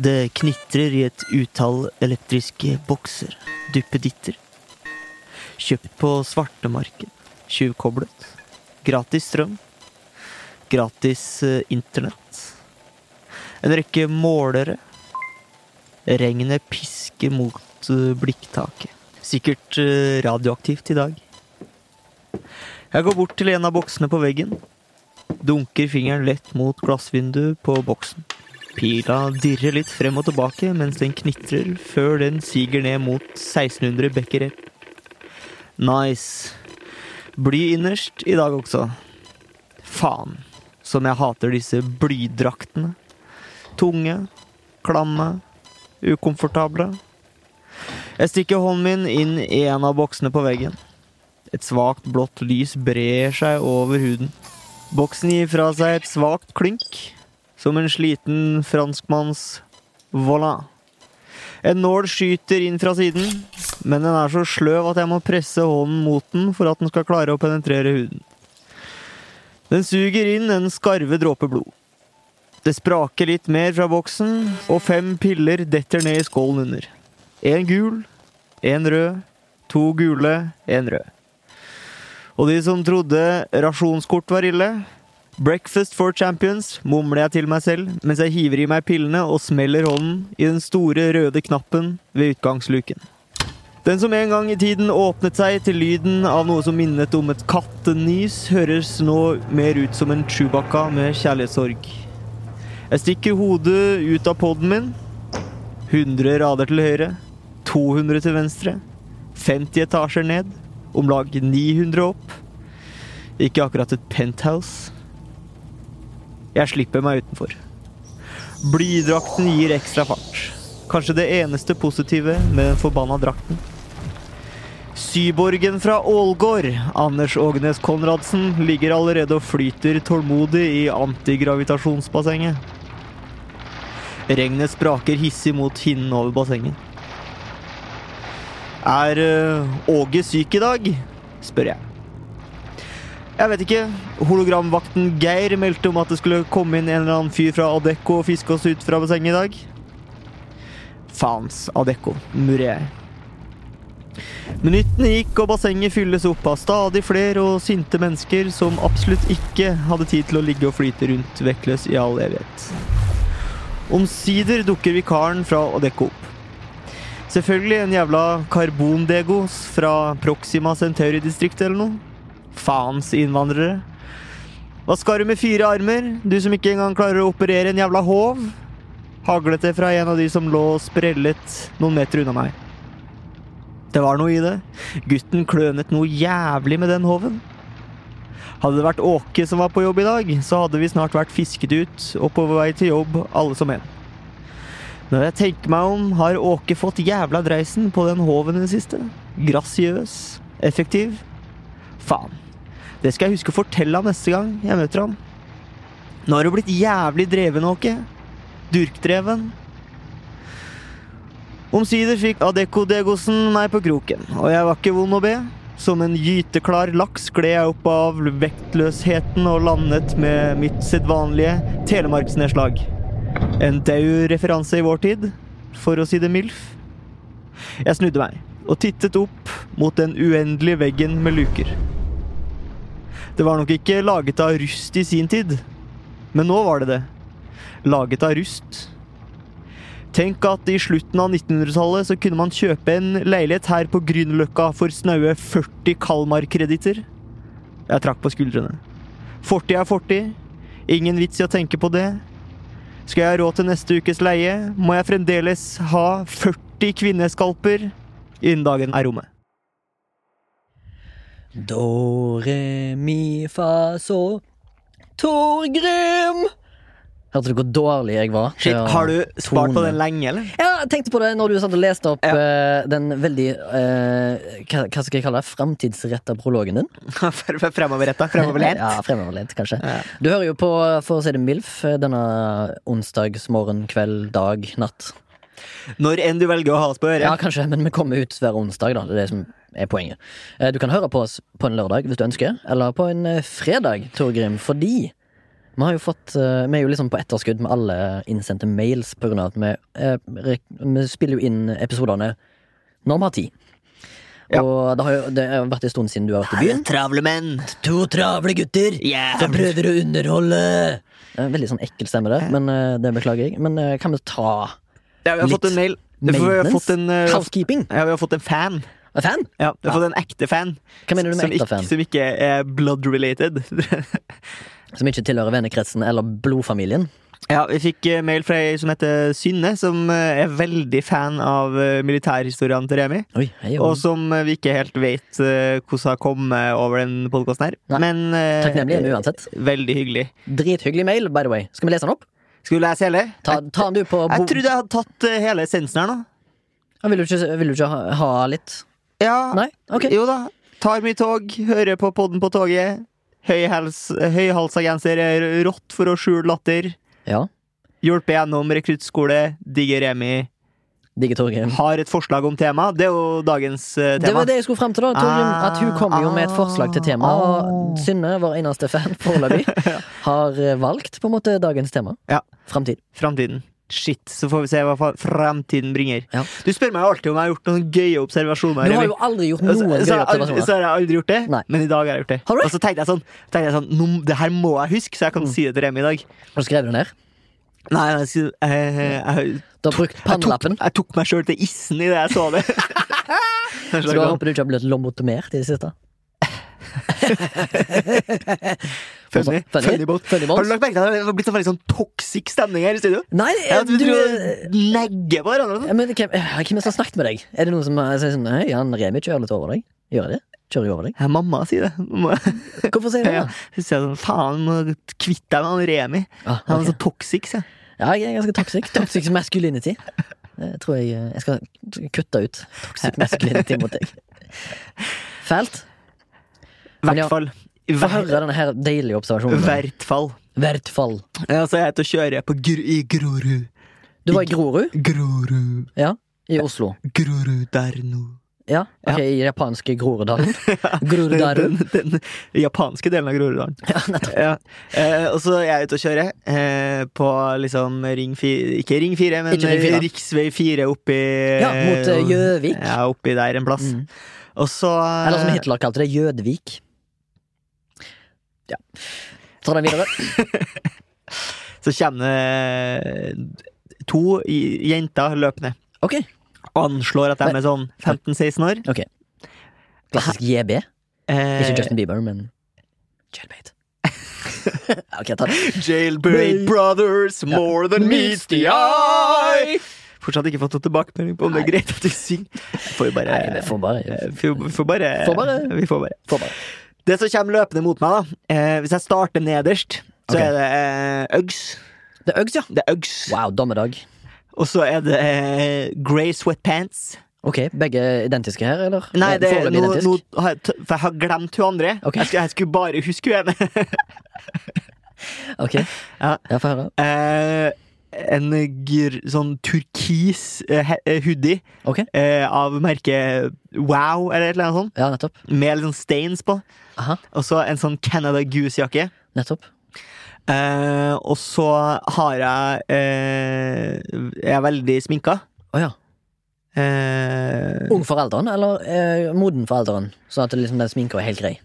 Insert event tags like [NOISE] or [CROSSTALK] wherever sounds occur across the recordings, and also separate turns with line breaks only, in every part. Det knitrer i et utall elektriske bokser, duppeditter. Kjøpt på svartemarked, tjuvkoblet. Gratis strøm. Gratis eh, internett. En rekke målere. Regnet pisker mot eh, blikktaket. Sikkert eh, radioaktivt i dag. Jeg går bort til en av boksene på veggen. Dunker fingeren lett mot glassvinduet på boksen. Pila dirrer litt frem og tilbake mens den knitrer, før den siger ned mot 1600 becquerel. Nice. Bly innerst i dag også. Faen, som jeg hater disse blydraktene. Tunge, klamme, ukomfortable. Jeg stikker hånden min inn i en av boksene på veggen. Et svakt blått lys brer seg over huden. Boksen gir fra seg et svakt klynk, som en sliten franskmanns voilà. En nål skyter inn fra siden, men den er så sløv at jeg må presse hånden mot den for at den skal klare å penetrere huden. Den suger inn en skarve dråpe blod. Det spraker litt mer fra boksen, og fem piller detter ned i skålen under. En gul, en rød, to gule, en rød. Og de som trodde rasjonskort var ille, Breakfast for champions, mumler jeg til meg selv mens jeg hiver i meg pillene og smeller hånden i den store røde knappen ved utgangsluken. Den som en gang i tiden åpnet seg til lyden av noe som minnet om et kattenys, høres nå mer ut som en Chewbacca med kjærlighetssorg. Jeg stikker hodet ut av poden min. 100 rader til høyre, 200 til venstre, 50 etasjer ned, om lag 900 opp. Ikke akkurat et penthouse. Jeg slipper meg utenfor. Blydrakten gir ekstra fart. Kanskje det eneste positive med den forbanna drakten. Syborgen fra Ålgård, Anders Ågnes Konradsen, ligger allerede og flyter tålmodig i antigravitasjonsbassenget. Regnet spraker hissig mot hinnen over bassenget. Er øh, Åge syk i dag? spør jeg. Jeg vet ikke. Hologramvakten Geir meldte om at det skulle komme inn en eller annen fyr fra Adecco og fiske oss ut fra bassenget i dag. Faens Adecco, murrer jeg. Minuttene gikk, og bassenget fylles opp av stadig flere og sinte mennesker som absolutt ikke hadde tid til å ligge og flyte rundt vektløs i all evighet. Omsider dukker vikaren fra Adecco opp. Selvfølgelig en jævla karbondegos fra Proxima Centauri-distriktet eller noe. Faens innvandrere. Hva skal du med fire armer, du som ikke engang klarer å operere en jævla håv? Haglet det fra en av de som lå og sprellet noen meter unna meg. Det var noe i det. Gutten klønet noe jævlig med den håven. Hadde det vært Åke som var på jobb i dag, så hadde vi snart vært fisket ut og på vei til jobb, alle som en. Når jeg tenker meg om, har Åke fått jævla dreisen på den håven i det siste. Grasiøs, effektiv, Faen. Det skal jeg huske å fortelle ham neste gang jeg møter ham. Nå har du blitt jævlig dreven, Åke. Durkdreven. Omsider fikk Adecco Degosen meg på kroken, og jeg var ikke vond å be. Som en gyteklar laks gled jeg opp av vektløsheten og landet med mitt sedvanlige telemarksnedslag. En daud referanse i vår tid, for å si det milf. Jeg snudde meg og tittet opp mot den uendelige veggen med luker. Det var nok ikke laget av rust i sin tid, men nå var det det. Laget av rust. Tenk at i slutten av 1900-tallet så kunne man kjøpe en leilighet her på Grünerløkka for snaue 40 Kalmar-kreditter. Jeg trakk på skuldrene. Fortid er fortid. Ingen vits i å tenke på det. Skal jeg ha råd til neste ukes leie, må jeg fremdeles ha 40 kvinneskalper innen dagen er omme.
Do, re, mi, fa, so Torgrim! Hørte du hvor dårlig jeg var? til
Shit,
å
har du spart på
tone.
den lenge, eller? [LAUGHS]
Ja, jeg tenkte på det når du satt og leste opp
Ja.
eh, den veldig eh, hva, hva skal jeg kalle det? Framtidsretta prologen din.
Fremoverretta, fremoverlent.
Ja, fremoverlent, kanskje.
Ja.
Du hører jo på, for å si det MILF, denne onsdagsmorgen, kveld, dag, natt.
Når enn du velger å ha oss på
Ja,
øret.
kanskje, men vi kommer ut hver onsdag, da. Det er det som er poenget. Eh, Du kan høre på oss på en lørdag hvis du ønsker, eller på en eh, fredag, Torgrim, fordi vi, har jo fått, eh, vi er jo liksom på etterskudd med alle innsendte mails på grunn av at vi, eh, rek- vi spiller jo inn episodene når vi har tid.
Ja.
Og det har jo det har vært en stund siden du har vært i byen.
Travle menn.
To travle gutter
Yeah.
som prøver å underholde. Det er en Veldig sånn ekkel stemme, det, men eh, det beklager jeg. Men eh, kan vi ta
Ja, vi har
Litt
fått en mail. Vi har fått en, eh,
Housekeeping?
ja, vi har fått en fan.
Er Fan?
Ja, vi har fått en ekte fan.
Hva mener du med
som,
ekte
ikke,
fan?
som ikke er blood-related. [LAUGHS]
Som ikke tilhører vennekretsen eller blodfamilien?
ja, Vi fikk eh, mail fra ei som heter Synne, som eh, er veldig fan av eh, militærhistoriene til Remi.
Oi, hei,
Og
og
som eh, vi ikke helt vet eh, hvordan har kommet over den podkasten her.
Nei.
Men eh,
Takknemlig er vi uansett.
Veldig hyggelig.
Drithyggelig mail, by the way. Skal vi lese den opp?
Skal du lese hele?
Ta, ta den du på
Jeg
bo...
trodde jeg hadde tatt eh, hele essensen her nå.
Vil du ikke, vil du ikke ha, ha litt?
Ja,
Nei? Ok.
Jo da. Tar mye tog, hører på podden på toget. Høyhals, høyhalsa genser er rått for å skjule latter.
Ja.
Hjulpet gjennom rekruttskole. Digger Remi.
Digge Torgrim.
Har et forslag om tema. Det er jo dagens eh,
Det
tema.
var det jeg skulle fram til, da. Torgrim,
Ah,
at hun kommer jo med et forslag til tema.
ah.
Og Synne, vår eneste fan
[LAUGHS]
foreløpig, har eh, valgt på en måte dagens tema.
Ja.
Framtid.
Framtiden. Shit, så får vi se hva fa- framtiden bringer.
Ja.
Du spør meg alltid om jeg har gjort noen gøye observasjoner.
Du har
Remi.
jo aldri gjort
Og
noen
så, så,
gøye
har jeg aldri,
observasjoner.
så har jeg aldri gjort det,
Nei.
men i dag har jeg gjort det.
Har du det? Mm.
Og så tenkte jeg sånn, tenkte jeg sånn nå, må- Det her må jeg huske, så jeg kan si det til Remi i dag.
Har du skrevet det ned?
Nei, jeg, skulle- eh, jeg,
Du har brukt
jeg, tok,
pannelappen.
jeg tok meg sjøl til issen i det jeg så
[LAUGHS]
det. En
Så da
slags sånn
håper du ikke har blitt lobotomert i det siste?
funny-
Funny?
funny boat.
Funny boat?
Har du lagt merke til at det har blitt sånn veldig sånn toxic stemning her i studio?
Nei, eh,
Jeg
du
tror vi negger på hverandre. og sånn.
Ja, Men hvem, eh, hvem er det som har snakket med deg? Er det noen som eh, sier sånn Hei, han Remi kjører litt over deg? Gjør jeg det? Kjører jeg over deg?
Ja, mamma sier det. Mamma.
Hvorfor sier du det?
[LAUGHS] Ja. Så sier jeg sånn, faen, må kvitt deg med han Remi.
da? Ah,
Han er
ok.
sånn- så toxic, sier jeg.
Ja, jeg er ganske toxic. Toxic masculinity. Det tror jeg eh, jeg skal kutte ut. Toxic masculinity mot deg. Fælt.
I
Men ja,
hvert fall. I
Få
hver-
høre denne her deilige observasjonen.
hvert fall.
Hvert fall.
Ja, så jeg er ute og kjører på gr i Grorud.
Du var i Grorud
Grorud,
i Oslo.
Grorud der nå.
Ja, ok, i japanske
[LAUGHS]
Groruddalen. Groruddalen.
Den, den, den japanske delen av Groruddalen.
[LAUGHS] Ja, nettopp.
Ja. Eh, og så er jeg ute og kjører eh, på liksom ring 4 Ikke ring 4, men
Ikke Ring fire.
riksvei 4 oppi
Ja, mot eh, Gjøvik.
Ja, oppi der en plass.
Mm.
Og så
Eller
Eh.
som Hitler kalte det, Jødvik. Ja. Ta den videre.
Så kommer det to i- jenter løpende.
Ok.
Anslår at de er sånn 15-16 år.
Klassisk JB.
Eh,
Ikke Justin Bieber, men Jailbait. ok, ta
Eh.
det.
[LAUGHS] Jailbreak brothers, more than meets the eye. Fortsatt ikke fått noen tilbakemelding på om det er greit at vi synger. Får vi bare,
Nei, vi får bare
Eh, vi får- vi får bare,
Får bare.
Vi får bare.
Får bare.
Det som kommer løpende mot meg, da eh, Hvis jeg starter nederst, så
Ok.
er det eh, Uggs.
Det er Uggs, ja.
Det er Uggs.
Wow, dommedag.
Og så er det eh, grey sweatpants.
Ok, begge identiske her, eller?
Nei, det er,
Foreløpig
nå,
identisk.
nå har jeg, t- for jeg har glemt hun andre.
Ok.
Jeg, skulle, jeg skulle bare huske hun ene. [LAUGHS]
Ok,
Ja.
ja, få høre.
Eh, en gr sånn turkis eh, he- eh, hoodie
Ok,
eh, av merket Wow, eller et eller annet sånt.
ja, nettopp.
Med litt sånn stains på.
Aha,
Og så en sånn Canada Goose-jakke.
nettopp.
Eh, og så har jeg eh, Jeg er veldig sminka.
Å ja.
Eh,
Ung for alderen, eller eh, moden for alderen? Sånn at det liksom, den sminka er helt grei.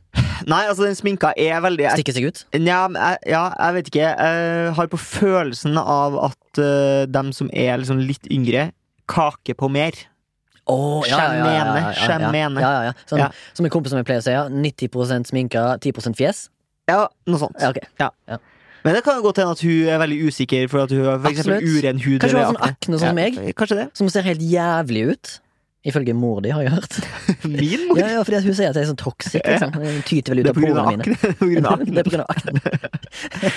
nei, altså, den sminka er veldig jeg,
Stikker seg ut?
Nja, men jeg, ja, jeg vet ikke. Jeg har på følelsen av at eh, dem som er liksom litt yngre, kaker på mer.
Å, ja, ja, ja, ja, ja, ja, ja,
Sjarmene, sjarmene.
ja, ja, ja. Sånn,
Ja.
Som en kompis som jeg pleier å si, ja. 90 sminka, 10 fjes.
Ja, noe sånt.
Ja, ok.
Men det kan jo godt hende at hun er veldig usikker for at hun har for eksempel
Absolutt.
uren hud.
Kanskje hun
eller
har sånn akne sånn som meg?
Ja, kanskje det. [LAUGHS]
Som ser helt jævlig ut. Ifølge mor di, har jeg
[LAUGHS]
hørt.
Min mor.
Ja, ja, fordi at Hun sier at jeg er sånn toxic. Liksom. Hun tyter vel ut
Det er
av
[LAUGHS] på grunn av
porene mine. [LAUGHS]
akne. På grunn av akne.
Det er på grunn av akne.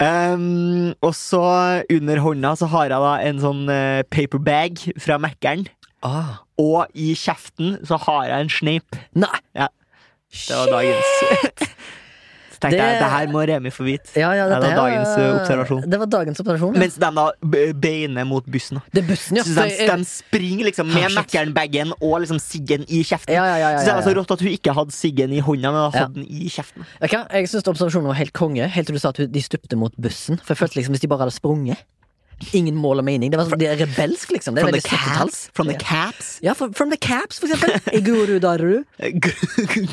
Ehm, og så under hånda så har jeg da en sånn eh, paperbag fra Mækkern.
Ah.
Og i kjeften så har jeg en sneip.
Nei!
Ja. Det var dagens. Så tenkte
Det-
jeg det her må Remi få vite.
Ja, ja,
Ja, det
dette
var
her-
dagens, eh, observasjon.
Det var dagens observasjon. ja.
Mens de da b- beiner mot bussen. da.
det er bussen, ja.
Så
for-
de, de springer liksom
Ah,
med
shit.
Mækkern-bagen og liksom siggen i kjeften.
ja, ja, ja, ja,
Så det
ja,
var
ja.
så rått at hun ikke hadde siggen i hånda, men hadde
Ja.
den i kjeften.
Vet du hva? Jeg syns observasjonen var helt konge, helt til du sa at hun- de stupte mot bussen. For jeg følte liksom hvis de bare hadde sprunget. Ingen mål og mening. Det var sånn, de er rebelsk, liksom. Det er
From the
veldig 70-tall.
caps. From the caps.
Ja, for, From the Caps, for eksempel.
[LAUGHS]
I Guru Daru.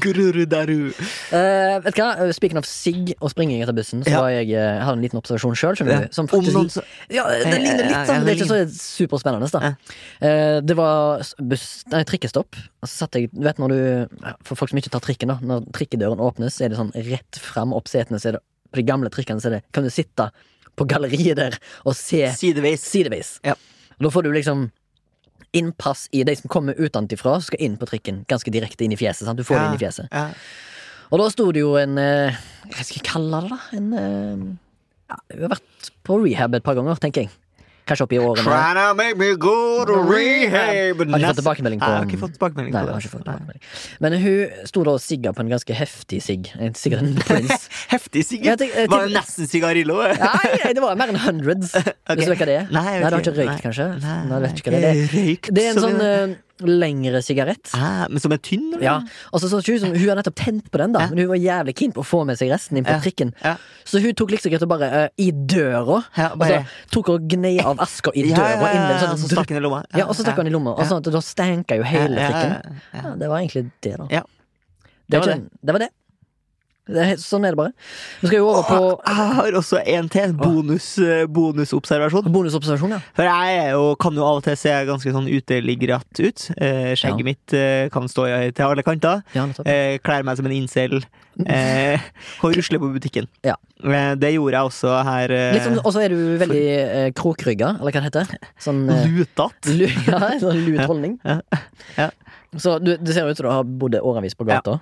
Gururudaru.
Eh, vet du hva? Speaking of sigg og springing etter bussen, så
Ja.
var jeg, eh, jeg hadde en liten observasjon sjøl.
Ja.
Som
Om
faktisk
noen så-
Ja, det ligner litt sånn.
Eh, Ja, ja, ja,
Det er
det
ikke så superspennende. Da. Eh, Det var s- buss, nei, trikkestopp. Og så satt jeg Du vet når du For folk som ikke tar trikken, da. Når trikkedøren åpnes, så er det sånn rett fram opp setene. Så er det, på de gamle trikkene så er det Kan du sitte på galleriet der og se
Sideveis.
sideveis?
Ja.
Og da får du liksom innpass i de som kommer utenfra, skal inn på trikken. Ganske direkte inn i fjeset. Sant? Du får det inn i fjeset.
Ja.
Og da sto det jo en eh, Hva skal jeg kalle det, da? En eh, ja, Hun har vært på rehab et par ganger, tenker jeg. Kanskje oppi årene.
Trying to make me go to rehab
Har ikke fått tilbakemelding på
Nei, Jeg har ikke fått tilbakemelding
Nei, hun
på det.
har ikke fått tilbakemelding. Men hun sto da og sigga på en ganske heftig sigg. En- Sikkert en
[LAUGHS]
prins.
Nei. Heftig
Jeg
sigar.
tenk- jeg
Var
tenk-
det nesten sigarillo?
Nei, det var mer enn hundreds.
[LAUGHS]
Hvis du vet hva det er.
Nei, jeg vet
du har ikke
ikke.
røykt,
Nei.
kanskje?
Nei,
Nei, du vet ikke hva
jeg
det
har
er.
ikke røykt,
Det er en
så
sånn
mye.
eh, lengre sigarett.
Hæ? Men som er tynn, eller?
Ja, og så så ikke hun som Hun har nettopp tent på den, da men hun var jævlig keen på å få med seg resten inn på
Ja,
trikken.
ja.
Så hun tok liksom greit og bare eh, i døra
Ja,
Og så
bare-
tok hun og gnei av aska Altså, i
Ja,
døra.
ja, ja,
innen,
ja,
sånn,
og
at
så
du-
stakk han i lomma.
Ja, og så stakk
Ja,
han i lomma. Og
ja.
sånn at Da stenka jo hele
Ja, ja, ja,
trikken.
ja.
Ja, det var egentlig det, da.
Ja.
Det
var
var det. Det var det. det er, helt- sånn er det bare. Vi skal jo over på
Jeg har også en til. en Bonus, eh, bonusobservasjon.
bonusobservasjon, ja.
For jeg er jo, kan jo av og til se ganske sånn uteliggerett ut. Eh, skjegget
Ja.
mitt eh, kan stå i- til alle kanter.
Ja, nettopp.
Eh, kler meg som en incel. Eh,
[LAUGHS]
og rusler på butikken.
Ja.
Eh, det gjorde jeg også her. Eh,
Litt sånn, og så er du veldig eh, krokrygga, eller hva det heter. Sånn eh, [LAUGHS]
lutatt.
Lu- Ja, en sånn lut holdning.
Ja, ja.
Så du, det ser ut som du har bodd årevis på gata.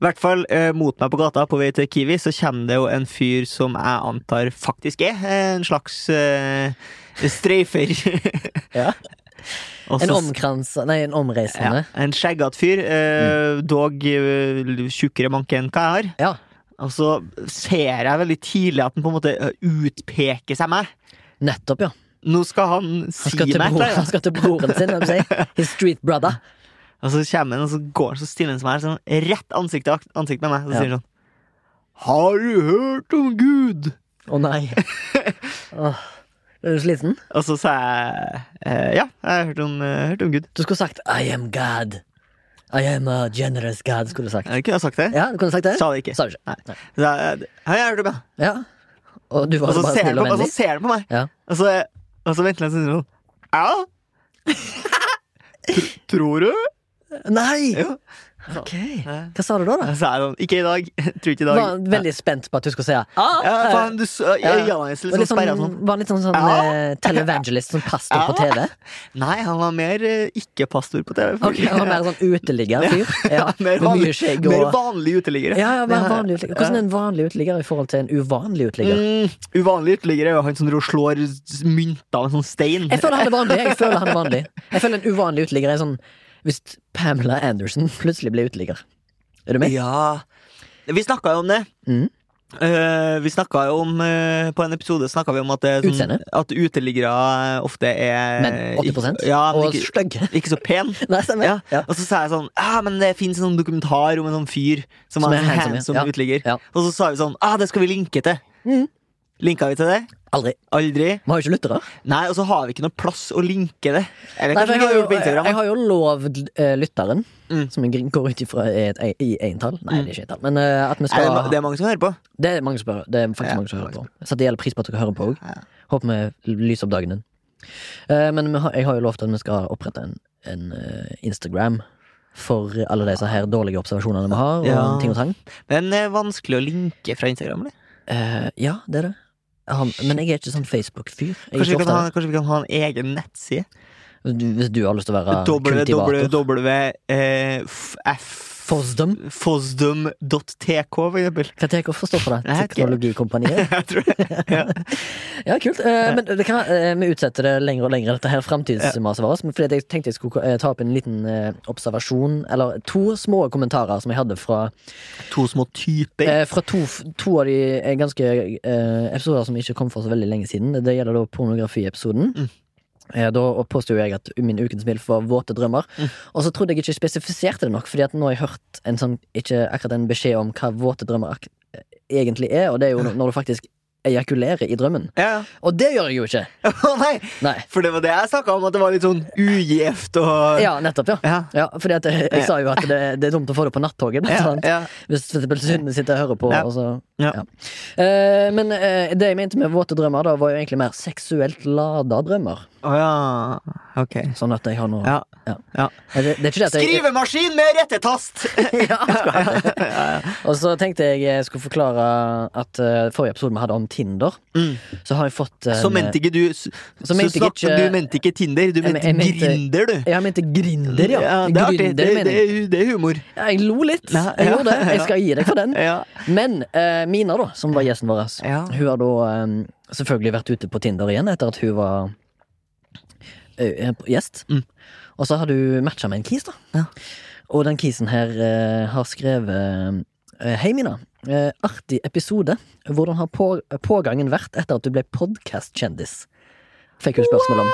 I hvert fall eh, mot meg på gata på vei til Kiwi, så kommer det jo en fyr som jeg antar faktisk er eh, en slags eh, streifer. [LAUGHS]
Ja.
Og
En
så-
omkransa Nei, en omreisende.
Ja, en skjeggete fyr, eh,
Mm.
dog eh, tjukkere manke enn hva jeg har.
Ja.
Og så ser jeg veldig tidlig at han på en måte eh, utpeker seg meg.
Nettopp, ja.
Nå skal han si
Han skal, til
meg
bror, han
noe.
skal til broren sin, hva skal jeg si. His street brother.
Og så kommer han, og så går han så stiller han seg meg sånn rett ansikt til ak- ansikt med meg. Så
Ja.
sier han sånn Har du hørt om Gud?
Å nei. [LAUGHS] Åh. Er du sliten?
Og så sa jeg eh, ja, jeg har hørt om, eh, hørt om Gud.
Du skulle sagt I am God. I am a generous God, skulle du sagt.
Jeg kunne ha sagt det.
Ja, du kunne sagt det.
Sa det ikke.
Sa du ikke.
Nei.
Nei.
Så jeg, «Hei, jeg har hørt om det.
Ja. Og du
Og
var
så
bare
ser han
snill
på,
og
og så
vennlig.
ser han på meg.
Ja.
Og så, og så venter han sånn sånn, Ja? Tr-
[LAUGHS]
Tror du?
Nei!
Jo.
Ok. Hva sa du da, da?
Så er han Ikke i dag. [LAUGHS] Tror ikke i dag.
Var han veldig spent på at du skulle si ah,
Ja,
eh,
faen, du så ja,
ja.
han er litt
var
sånn
litt
sperret
sånn,
og sånn.
var litt sånn, sånn
Ja.
eh, televangelist, sånn pastor på
[LAUGHS]
TV.
Nei, han var mer eh, ikke-pastor på TV.
Ok, han
[LAUGHS]
var Mer sånn uteliggerfyr. Ja,
mer,
med mye skjegg
mer
og
vanlig uteligger.
ja, ja, mer vanlig uteligger. Hvordan er en vanlig uteligger i forhold til en uvanlig uteligger?
Mm, uvanlig uteligger er jo han som driver og slår s- mynter med en sånn stein.
Jeg føler han er vanlig. Jeg føler han er vanlig Jeg føler en uvanlig uteligger er sånn hvis Pamela Anderson plutselig blir uteligger. Er du med?
Ja Vi snakka jo om det.
Mm.
Eh, vi snakka jo om eh, På en episode snakka vi om at, det er sånn-
Utseende.
at uteliggere eh, ofte er
Men 80
ikke, ja, men
og
ikke,
stygg.
ikke så pen.
Nei, stemmer.
Ja.
Ja.
Og så sa jeg sånn Ja, men det fins en sånn dokumentar om en sånn fyr som,
Som
er
er
en
handsome,
handsome,
ja. Ja.
uteligger.
Ja.
Og så sa vi sånn ah, det skal vi linke til.
Mm.
Linka vi til det?
Aldri.
Aldri.
Vi har jo ikke lyttere.
Nei, og så har vi ikke noe plass å linke det. Eller
Nei, for jeg, har
kanskje vi har gjort det på
jo, jeg
Instagram.
har jo lovd eh, lytteren,
Mm.
som jeg gr- går ut ifra er et, e- i entall Nei, det er ikke entall, men eh, at vi
Nei,
skal
det, er ma- det er mange som hører på.
Det er mange som hører, det er faktisk
Ja,
mange som hører på. Så det gjelder pris på at dere hører på òg.
Ja.
Håper vi lyser opp dagen din. Eh, men vi har, jeg har jo lovt at vi skal opprette en, en eh, Instagram for alle disse her dårlige observasjonene vi har. Og
Ja.
ting og tang.
Men det er vanskelig å linke fra Instagram. Eller?
Eh, ja, det er det. Jeg har- men jeg er ikke sånn Facebook-fyr. Jeg er
Kanskje,
ikke
vi kan ha,
ofte-
kanskje vi kan ha en egen nettside? eh,
Du- Hvis du har lyst til å være kultivator.
www.f
Fosdom?
Fosdom.tk, for eksempel. [LAUGHS]
Hva tenker å forstå for det?
Nei, jeg vet ikke.
Teknologikompaniet?
Jeg tror det. Ja.
Ja, kult. Eh, Men det kan, eh, vi utsetter det lenger og lenger, dette her framtidsmaset vårt. men Fordi jeg tenkte jeg skulle eh, ta opp en liten eh, observasjon, eller to små kommentarer som jeg hadde fra
To små typer.
Eh, fra to, f- to av de eh, ganske eh, episoder som ikke kom for så veldig lenge siden. Det gjelder da pornografiepisoden.
Mm.
Eh, da påsto jo jeg at min ukens milf var våte drømmer.
Mm.
Og så trodde jeg ikke jeg spesifiserte det nok, Fordi at nå har jeg hørt en sånn, ikke akkurat en beskjed om hva våte drømmer ak eh, egentlig er. Og det er jo når du faktisk ejakulerer i drømmen.
Ja.
Og det gjør jeg jo ikke!
Å nei!
Nei.
For det var det jeg snakka om, at det var litt sånn ugjevt og
Ja, nettopp, ja.
Ja.
Ja, fordi at eh, jeg, jeg
Ja.
sa jo at det, det er dumt å få det på nattoget. [LAUGHS] Blant
Ja,
annet.
ja.
Hvis for eksempel Synne sitter og hører på.
Ja.
Og så,
Ja.
Eh, men eh, det jeg mente med våte drømmer, da var jo egentlig mer seksuelt lada drømmer.
Å ja. Ok.
Sånn at jeg har noe
Ja. Ja.
Eh, Det, det er ikke det at jeg,
Skrivemaskin med rettetast!
[LAUGHS] ja, akkurat. Og så tenkte jeg jeg skulle forklare at eh, forrige episode vi hadde om Tinder,
Mm.
så har jeg fått en, eh,
Så mente ikke du Så,
så mente jeg
snakket-
ikke-
Du mente ikke Tinder, du
Jeg
mente
men- jeg mente-
Grinder, du.
Ja, jeg mente Grinder, ja.
det er artig.
Grindr,
Det,
mener
det,
jeg.
er, det er humor.
Jeg lo litt.
Ja,
Jeg
ja,
gjorde det. Jeg skal gi deg for den.
Ja.
Men eh, Mina, da, som var gjesten vår,
Ja.
hun har da eh, selvfølgelig vært ute på Tinder igjen etter at hun var eh, gjest.
Mm.
Og så har du matcha med en kis, da.
Ja.
Og den kisen her eh, har skrevet eh, Hei, Mina. Eh, artig episode. Hvordan har på, pågangen vært etter at du ble podkastkjendis? Fikk hun spørsmål om.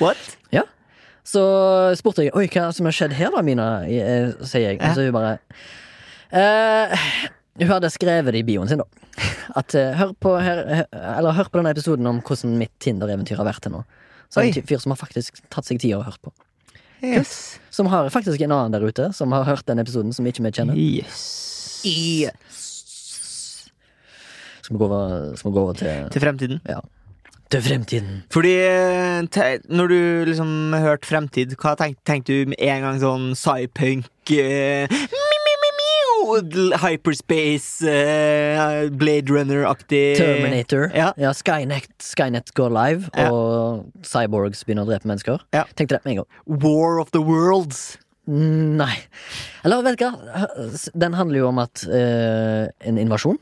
What?
Så spurte jeg Oi, hva som har skjedd her da, Mina, I- eh, sier jeg. Og så hun bare eh, Hun hadde skrevet det i bioen sin, da. [LAUGHS] At eh, hør, på her, eh, eller, hør på denne episoden om hvordan mitt Tinder-eventyr har vært til nå. Så er det
Oi.
en fyr som har faktisk tatt seg tid og hørt på.
Yes.
Som har faktisk en annen der ute som har hørt den episoden som ikke vi kjenner.
yes.
Skal vi gå over, skal vi gå over til,
Til fremtiden.
til fremtiden?
Fordi eh, te, når du liksom hørt fremtid, hva tenk, tenkte du med en gang sånn cypunk eh, mi, mi, mi, miu, l- Hyperspace, eh, Blade Runner-aktig
Terminator.
Eh, Ja.
Ja, Skynet, Skynet går live,
Ja.
og cyborgs begynner å drepe mennesker.
Ja.
Tenkte det med en gang.
War of the Worlds.
Mm, Nei. Eller vet du hva? Den handler jo om at eh, en invasjon.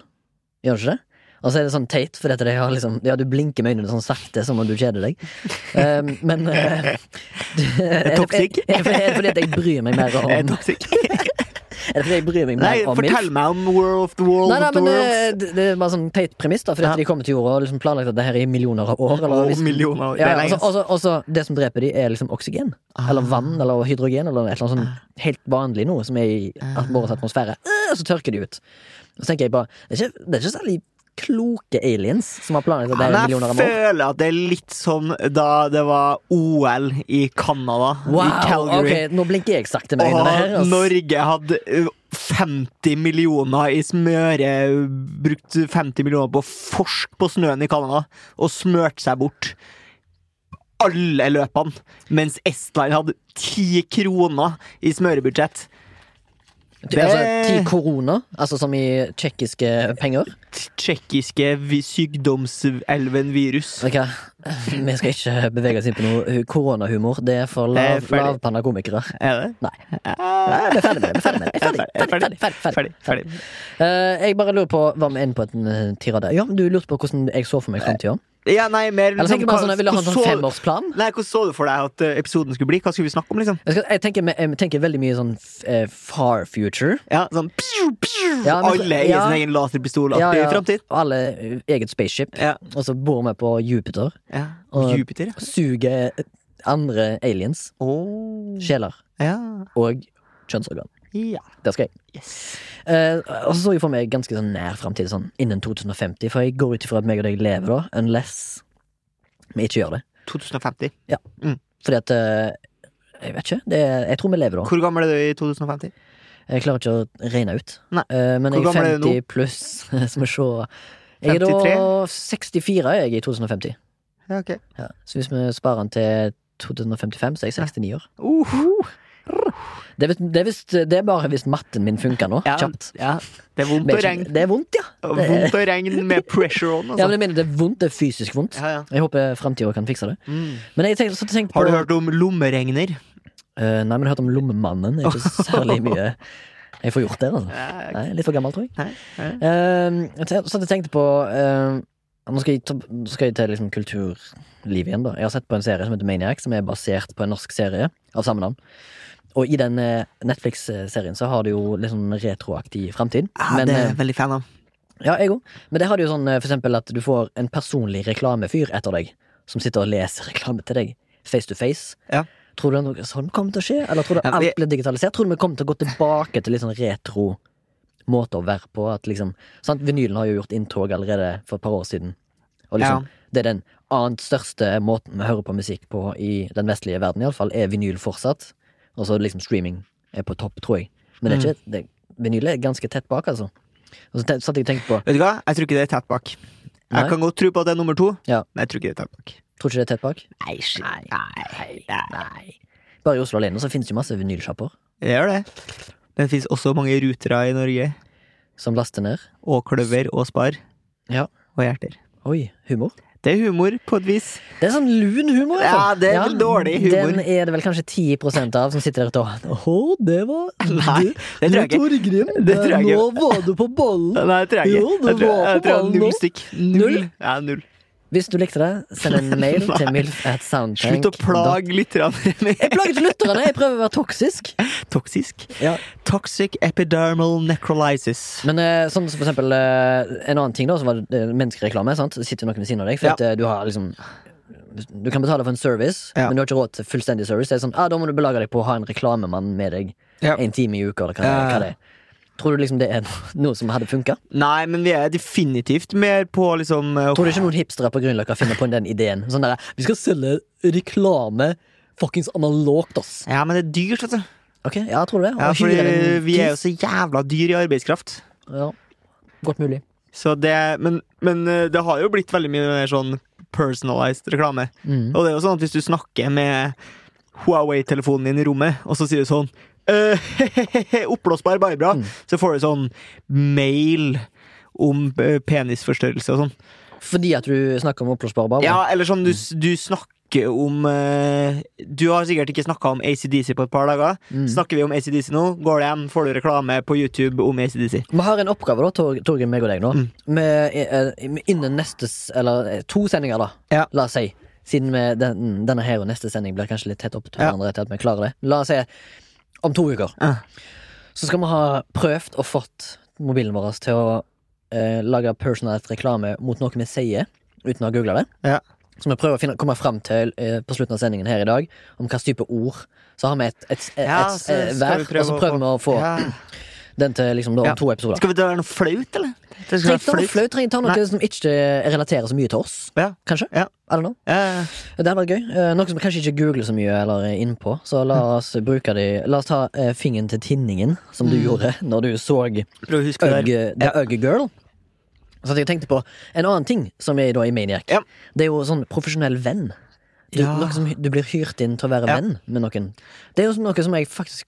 Gjør den ikke det? Og så er det sånn teit, for dette, det har liksom, ja, du blinker med øynene sånn sakte som om du kjeder deg. Eh, men
[LAUGHS]
eh, Er det-
Toxic.
Er, er, det fordi at jeg bryr meg
[LAUGHS]
mer om
Eh,
Er
toxic.
det fordi jeg bryr meg mer
Nei,
om milf?
fortell meg om War of the World
Nei, nei,
of the
men
Worlds.
eh, det, det er bare sånn teit premiss, da. Fordi
Ja.
at de kommer til jorda og liksom planlagt at det her er i millioner av år. Eller,
Og
liksom,
millioner av år. Det
Ja,
er
ja,
lenge,
altså, altså, altså, det som dreper de, er liksom oksygen.
Ah.
Eller vann, eller hydrogen, eller et eller annet sånn helt vanlig noe som er i at vår atmosfære. Eh, Så tørker de ut. Og så tenker jeg bare Det er ikke, det er ikke særlig kloke aliens som har planlagt at det
Men
er i
jeg
millioner av år.
føler at det er litt som da det var OL i Canada,
Wow,
i Calgary.
ok, Nå blinker jeg sakte med øynene her.
Og
ass.
Norge hadde ø, 50 millioner i smøre Brukt 50 millioner på å forske på snøen i Canada Og smørt seg bort Alle løpene Mens Estland hadde 10 kroner i smørebudsjett
Ty- Altså, ti korona, altså som i tsjekkiske penger.
Tjekkiske sykdomselven virus
Vet du hva? Vi skal ikke bevege oss inn på noe hu- koronahumor. Det er for
Det er
lav,
ferdig.
lavpanna komikere.
Er det?
Nei.
Ah,
Vi er ferdig med det. vi er Ferdig, med det. Vi er
Jeg er
ferdig, ferdig, ferdig, ferdig,
Ferdig, ferdig
Eh, jeg bare lurer på Var vi inne på en eh, tirade? Ja, men Du lurte på hvordan jeg så for meg framtida?
Ja, nei, mer
Eller tenker du bare sånn, jeg ville ha en sånn
hvordan så-
femårsplan?
Nei, hvordan så du for deg at ø, episoden skulle bli? Hva skulle vi snakke om, liksom?
Jeg, skal, jeg, tenker, jeg tenker veldig mye sånn eh, far future.
Ja, sånn piu, piu.
Ja, men så-
Alle eier
ja.
sin egen laserpistol
Ja,
ja,
ja.
i framtid.
Og alle eh, eget spaceship.
Ja.
Og så bor vi på Jupiter.
Ja.
Og-
Jupiter, ja.
Suger andre aliens,
Oh.
sjeler
Ja.
og kjønnsorgan.
ja.
Der skal jeg.
Yes.
Eh, og så så jeg for meg ganske sånn nær framtid, sånn innen 2050. For jeg går ut ifra at meg og deg lever da, unless vi ikke gjør det.
2050.
Fordi at eh, Jeg vet ikke. Det, er- jeg tror vi lever da.
Hvor gammel er du i 2050?
Jeg klarer ikke å regne ut.
Nei.
Eh, men
Hvor
jeg er
gammel er
50
du
pluss, [LAUGHS] så må vi se. Jeg er da 64 er jeg i 2050.
Ja, ok.
Ja. Så hvis vi sparer den til 2055, så er jeg 69 år.
Uhu.
Det er, visst- det er, visst, det er bare hvis matten min funker nå.
Ja,
Kjapt.
ja. Det er vondt å
Det er ikke-
regne.
det er vondt, ja. det er-
Vondt å regne med pressure
ja
on.
men
Altså.
jeg mener, det er vondt. Det er fysisk vondt.
Ja, ja.
Jeg håper framtida kan fikse det.
Mm.
Men jeg tenkte, så tenkte
Har du
på-
hørt om lommeregner?
Eh, nei, men jeg har hørt om Lommemannen. Det er
[LAUGHS]
Ikke særlig mye jeg får gjort der, altså. Nei, litt for gammel, tror jeg.
Nei, nei.
Uh, så hadde jeg tenkt på eh, Nå skal jeg, ta, nå skal jeg til liksom, kulturlivet igjen. da Jeg har sett på en serie som heter Maniac, som er basert på en norsk serie av samme navn. Og i den eh, Netflix-serien så har det jo litt sånn retroaktig framtid.
Ja, Ah, det
eh,
er jeg veldig fan av.
Ja, jeg òg. Men det har de jo sånn eh, for eksempel at du får en personlig reklamefyr etter deg, som sitter og leser reklame til deg, face to face.
Ja.
Tror du det er noe sånn kommer til å skje, eller tror du
Ja, men
alt
jeg-
blir digitalisert? Tror du vi kommer til å gå tilbake til litt sånn retro måte å være på? At liksom, sant? Vinylen har jo gjort inntog allerede for et par år siden. Og liksom, det er den annet største måten vi hører på musikk på i den vestlige verden, iallfall, er vinyl fortsatt. Og så liksom streaming er på topp, tror jeg. Men det
Mm.
er ikke, det, vinyl er ganske tett bak, altså. Og så te- satt jeg og tenkte på
Vet du hva? Jeg tror ikke det er tett bak.
Nei.
Jeg kan godt tro på at det er nummer to,
Ja.
men jeg tror ikke det er tett bak.
Tror ikke det er tett bak?
Nei, shit.
Nei.
Nei. Nei.
Nei. Bare i Oslo alene så finnes det jo masse vinylsjapper
Det gjør det. Det fins også mange rutere i Norge.
som laster ned.
Og kløver og spar.
Ja.
Og hjerter.
Oi, humor.
Det er humor, på et vis.
Det er sånn lun humor. i hvert fall.
Ja, det er vel dårlig humor.
Den er det vel kanskje 10 av som sitter der ute og Å, det var
Nei, det tror jeg ikke.
Torgrim,
Det tror jeg ikke.
var du på ballen.
Nei, det tror jeg
Jo,
ikke.
det
Jeg tror,
var
jeg
på
tror jeg har
ballen
null
nå.
stykk. Null.
Null?
Ja, null.
Hvis du likte det, send
[LAUGHS]
en mail til milf at soundtank.
Slutt å plage lytterne med [LAUGHS]
Jeg plager ikke lytterne, jeg prøver å være toksisk.
toksisk. Toxic epidermal necrolysis.
Men eh, sånn som for eksempel eh, en annen ting, da, som var eh, menneskereklame. sant? Det sitter noen ved siden av deg, for
Ja.
at, eh, du har liksom du kan betale for en service,
Ja.
men du har ikke råd til fullstendig service. Det er sånn, ah, Da må du belage deg på å ha en reklamemann med deg
Ja.
en time i uka. Eller hva,
Ja.
hva det er. Tror du liksom det er no- noe som hadde funka?
Nei, men vi er definitivt mer på liksom eh,
Tror du ikke noen hipstere på Grünerløkka finner på den ideen? Sånn der, Vi skal selge reklame fuckings analogt, ass.
Ja, men det er dyrt, vet du.
Ok, ja, tror du det?
Ja,
Og
fordi
hyre en
vi er jo
kis.
så jævla dyr i arbeidskraft.
ja. Godt mulig.
Så det, men, men eh, det har jo blitt veldig mye mer sånn personalized reklame.
Mm.
Og det er jo sånn at hvis du snakker med Huawei-telefonen din i rommet, og så sier du sånn eh, [LAUGHS] Oppblåsbar Barbara, så får du sånn mail om eh, penisforstørrelse og sånn.
Fordi at du snakker om oppblåsbare barber?
Ja, eller sånn du, s- du snakker om eh, Du har sikkert ikke snakka om ACDC på et par dager. Snakker vi om ACDC nå, går det hjem, får du reklame på YouTube om ACDC.
Vi har en oppgave, da, Tor- Torgrim, meg og deg, nå.
Mm.
Med, eh, med innen neste s- Eller eh, to sendinger, da.
Ja.
La oss si. Siden vi, den, denne her og neste sending blir kanskje litt tett opp til
Ja.
hverandre til at vi klarer det. La oss si om to uker.
Ja.
Så skal vi ha prøvd og fått mobilen vår til å eh, lage personalisert reklame mot noe vi sier, uten å ha googla det.
Ja.
Så vi prøver å finne, komme fram til eh, på slutten av sendingen her i dag om hvilken type ord. Så har vi et, et, et,
Ja,
et,
så skal
eh,
vi
hver,
prøve
og så
å
prøver vi å få
Ja.
den til liksom, da, om
Ja.
to episoder.
Skal vi ta noe flaut, eller? Det skal
Trenger ikke ta
være
noe flaut, trenger ikke ta noe
Nei.
som ikke eh, relaterer så mye til oss.
Ja.
Kanskje?
Ja.
I don't know.
Eh,
Det hadde vært gøy. Eh, Noe som vi kanskje ikke googler så mye eller er innpå. Så la
Mm.
oss bruke de La oss ta eh, fingeren til tinningen, som du
Mm.
gjorde når du så
prøv å huske det
Ugg,
der.
The Ugg Girl. Så at jeg tenkte på en annen ting som er da i Maniac.
Ja.
Det er jo sånn profesjonell venn. Du,
Ja.
noe som, du blir hyrt inn til å være
Ja.
venn med noen. Det er jo noe som jeg faktisk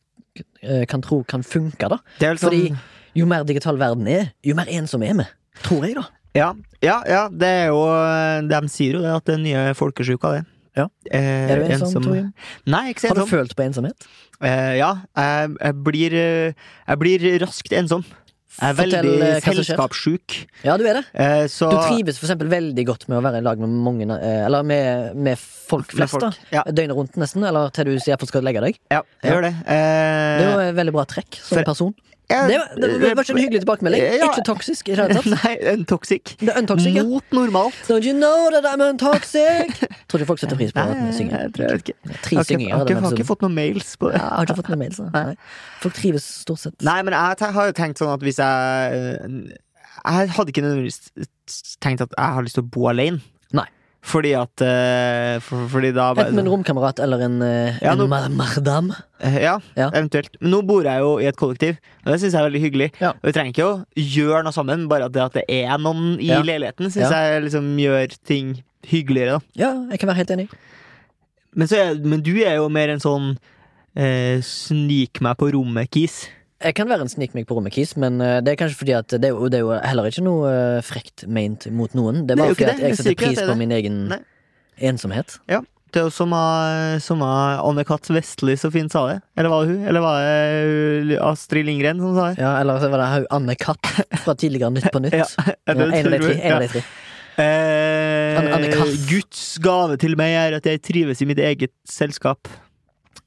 eh, kan tro kan funke, da.
Det er vel
Fordi
sånn-
jo mer digital verden er, jo mer ensom er vi. Tror jeg, da.
ja, ja, ja, det er jo eh, De sier jo det, at det er den nye folkesjuka, det.
Ja.
Eh,
Er du ensom, Torgrim?
Nei, jeg er ikke så
Har du
ensom.
følt på ensomhet?
Eh, ja, jeg, jeg, blir, eh, jeg blir raskt ensom. Jeg er
Fortell,
veldig
eh, hva som skjer.
selskapssjuk.
Ja, du er det.
Eh, så
Du trives for eksempel veldig godt med å være i lag med mange eh, Eller med, med folk
Med
flest,
folk,
da.
ja.
Døgnet rundt, nesten. Eller til du sier at du skal legge deg.
Ja, jeg gjør det. Eh,
Det er jo et veldig bra trekk som
For-
person.
jeg-
Det var, det var ikke en hyggelig tilbakemelding.
Eh, Ja.
Ikke toksisk i det hele tatt.
[LAUGHS] Nei, en toxic.
Det er untoxic, ja.
Mot normal.
Don't you know that I'm untoxic? [LAUGHS] Tror ikke folk setter pris på
Nei,
at vi
jeg,
synger.
tror jeg vet ikke.
Tre
Har ikke,
synginger.
har,
i
ikke,
denne
har ikke
episoden.
fått noen mails på det.
sånn. Ja, Jeg har ikke fått noen mails. da. Nei. Folk trives stort sett.
Nei, men jeg te- har jo tenkt sånn at hvis jeg eh, Jeg hadde ikke nødvendigvis tenkt at jeg har lyst til å bo alene.
Nei.
Fordi at eh, for, Fordi da
Enten en romkamerat eller en, eh,
Ja,
en
nå-
ma- mardam.
Eh, ja,
Ja.
eventuelt. Men nå bor jeg jo i et kollektiv, og det syns jeg er veldig hyggelig.
Ja.
Og vi trenger ikke å gjøre noe sammen, bare at det, at det er noen i
Ja.
leiligheten,
Ja.
syns jeg liksom gjør ting hyggeligere, da.
Ja, jeg kan være helt enig.
Men, så er, men du er jo mer en sånn eh, snik meg på rommet-kis.
Jeg kan være en snik meg på rommet, Kis, men eh, det er kanskje fordi at det er, jo, det er jo heller ikke noe eh, frekt meint mot noen. Det er
Nei,
bare
jo ikke
fordi
det.
at jeg
Jeg sier
setter
ikke at
pris
det er
på
det.
min egen
Nei.
ensomhet.
Ja. det er jo som er, som er Anne-Kat. Vestli så fint sa det. Eller var det hun? Eller var det Astrid Lindgren som sa det?
Ja, eller så var det Haug Anne Katt fra tidligere Nytt på Nytt.
[LAUGHS] Ja,
ja,
Er det
en av de
tror
tre.
du?
En av
Ja.
de tre. Anne- Anne
Eh,
Katt.
Guds gave til meg er at jeg trives i mitt eget selskap.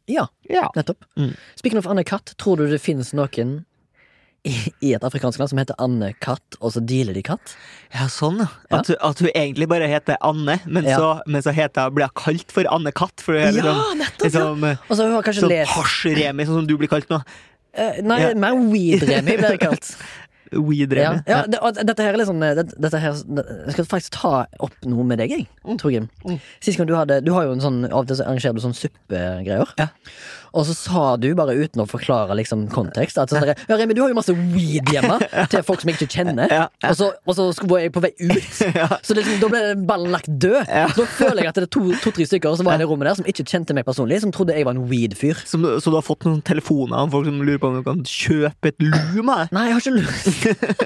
Ja,
Ja.
nettopp.
Mm.
Speaking of Anne Katt, tror du det finnes noen i, i et afrikansk land som heter Anne Katt, og så dealer de katt?
Ja, sånn, ja. At, at hun egentlig bare heter Anne, men,
Ja.
så, men så heter hun, blir hun kalt for Anne Katt. For hun er liksom,
nettopp! ja.
liksom, eh,
Og så har hun kanskje
sånn
lest
hasj-remi, sånn som du blir kalt nå.
eh, Nei,
Ja.
mer weed-remi blir det
[LAUGHS]
kalt. Ja,
Weed-remi.
ja, det, og dette her er litt sånn eh, det, dette her, Jeg skal faktisk ta opp noe med deg, jeg, Torgrim.
Mm.
Sist gang du hadde Du har jo en sånn Av og til så arrangerer du sånn suppegreier.
Ja.
Og så sa du, bare uten å forklare liksom kontekst at sånn, der, Ja, Remi, du har jo masse weed
[LAUGHS]
hjemme til folk som jeg ikke kjenner.
Ja, ja.
Og, så, og så skulle- var jeg på vei ut,
[LAUGHS]
så liksom, da ble ballen lagt død.
Ja.
Så da føler jeg at det er to- to-tre stykker som var i det rommet der som ikke kjente meg personlig, som trodde jeg var en weed-fyr.
Som, så du har fått noen telefoner om folk som lurer på om du kan kjøpe et lum av deg?
Nei, jeg har ikke lue.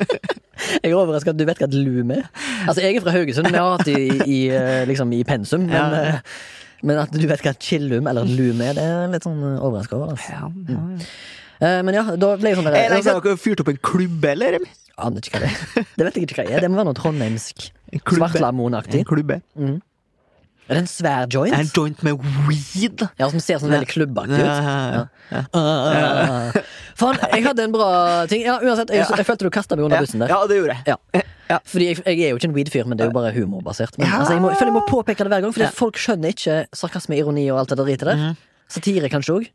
[LAUGHS] jeg er overraska at du vet hva et lum er. Altså, jeg er fra Haugesund, vi har hatt det i, i, eh, liksom, i pensum. Men,
Ja.
eh, men at du vet hva et chillum eller et lum er, det er jeg litt sånn overraska over. Altså.
Ja, ja, ja.
Eh, Men ja, da ble jeg sånn der,
Eh, nei,
jeg
så Har dere fyrt opp en klubb, eller? Remi?
aner ikke hva det er. Det vet jeg ikke hva det er. Det må være noe trondheimsk.
En klubbe.
Svartlamoen-aktig.
En klubbe.
Er det en svær
Er En
joint?
joint med weed.
Ja, som ser sånn veldig klubbaktig ut.
Ja.
Ah, Faen, jeg hadde en bra ting. Ja, uansett, jeg, jeg følte du kasta meg under bussen der.
Ja, det gjorde jeg.
Ja. Fordi jeg, jeg er jo ikke en weed-fyr, men det er jo bare humorbasert. Men
Ja.
altså, jeg, må, jeg føler jeg må påpeke det hver gang, Fordi folk skjønner ikke sarkasme, ironi og alt det der dritet der.
Mhm.
Satire kanskje òg.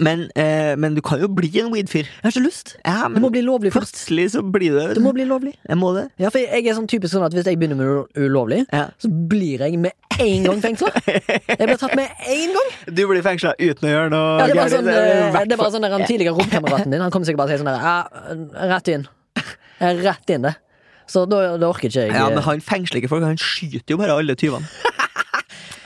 Men, eh, men du kan jo bli en weed-fyr.
Jeg har ikke lyst.
Ja,
Det må bli lovlig først.
plutselig så blir det
Det må bli lovlig.
Jeg må det.
Ja, for jeg, jeg er sånn typisk sånn at hvis jeg begynner med noe ulovlig,
Ja.
så blir jeg med en gang fengsla. Jeg blir tatt med en gang.
Du blir fengsla uten å gjøre noe
Ja, det var
gærent,
sånn,
det er i
eh,
hvert
det var
fall-
sånn der, han tidligere romkameraten din Han kom sikkert bare til å si sånn der «Ja, Rett inn. Ja, Rett inn, det. Så da, da orker ikke jeg.
Ja, men
eh,
han fengsler ikke folk, han skyter jo bare alle tyvene. [LAUGHS]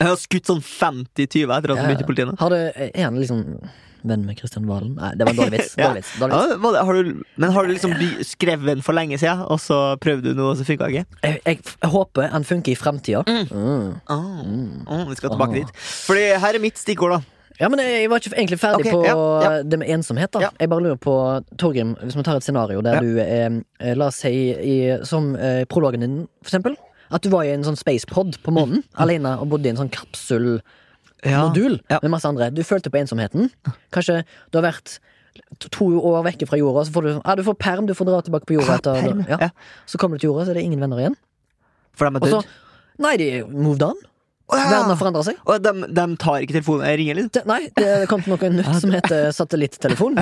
Jeg har skutt sånn 50 tyver etter at han
ja.
begynte i politiet. nå.
Har du, er han liksom venn med Kristian Valen? Nei, det var en dårlig
[LAUGHS]
vits.
Ja.
Dårlig vits. Dårlig vits.
Ja, var det- har du, men har du liksom by- skrevet den for lenge siden, og så prøvde du noe, og så funka ikke?
Jeg, jeg, jeg håper han funker i fremtida. Mm.
Ah, ah, vi skal tilbake dit. Fordi her er mitt stikkord, da.
Ja, men jeg, jeg var ikke egentlig ferdig
Ok,
på
ja,
det med ensomhet. da
Ja.
Jeg bare lurer på, Torgrim, hvis vi tar et scenario der
Ja.
du er eh, La oss si, i, som eh, prologen din, for eksempel. At du var i en sånn spacepod på månen alene og bodde i en sånn kapsulmodul
Mm. Ja.
med masse andre. Du følte på ensomheten. Kanskje du har vært to- to år vekke fra jorda, så får du, ja, du får perm, du får dra tilbake på jorda.
Ja,
Etter,
perm,
ja.
ja.
Så kommer du til jorda, så er det ingen venner igjen.
For de er
Og så
dødd.
Nei, de moved on.
Å, ja.
Verden har forandra seg.
Og de, de tar ikke telefonen. Jeg ringer, liksom.
Det, nei, det kom til noe
[LAUGHS]
nytt som heter satellittelefon.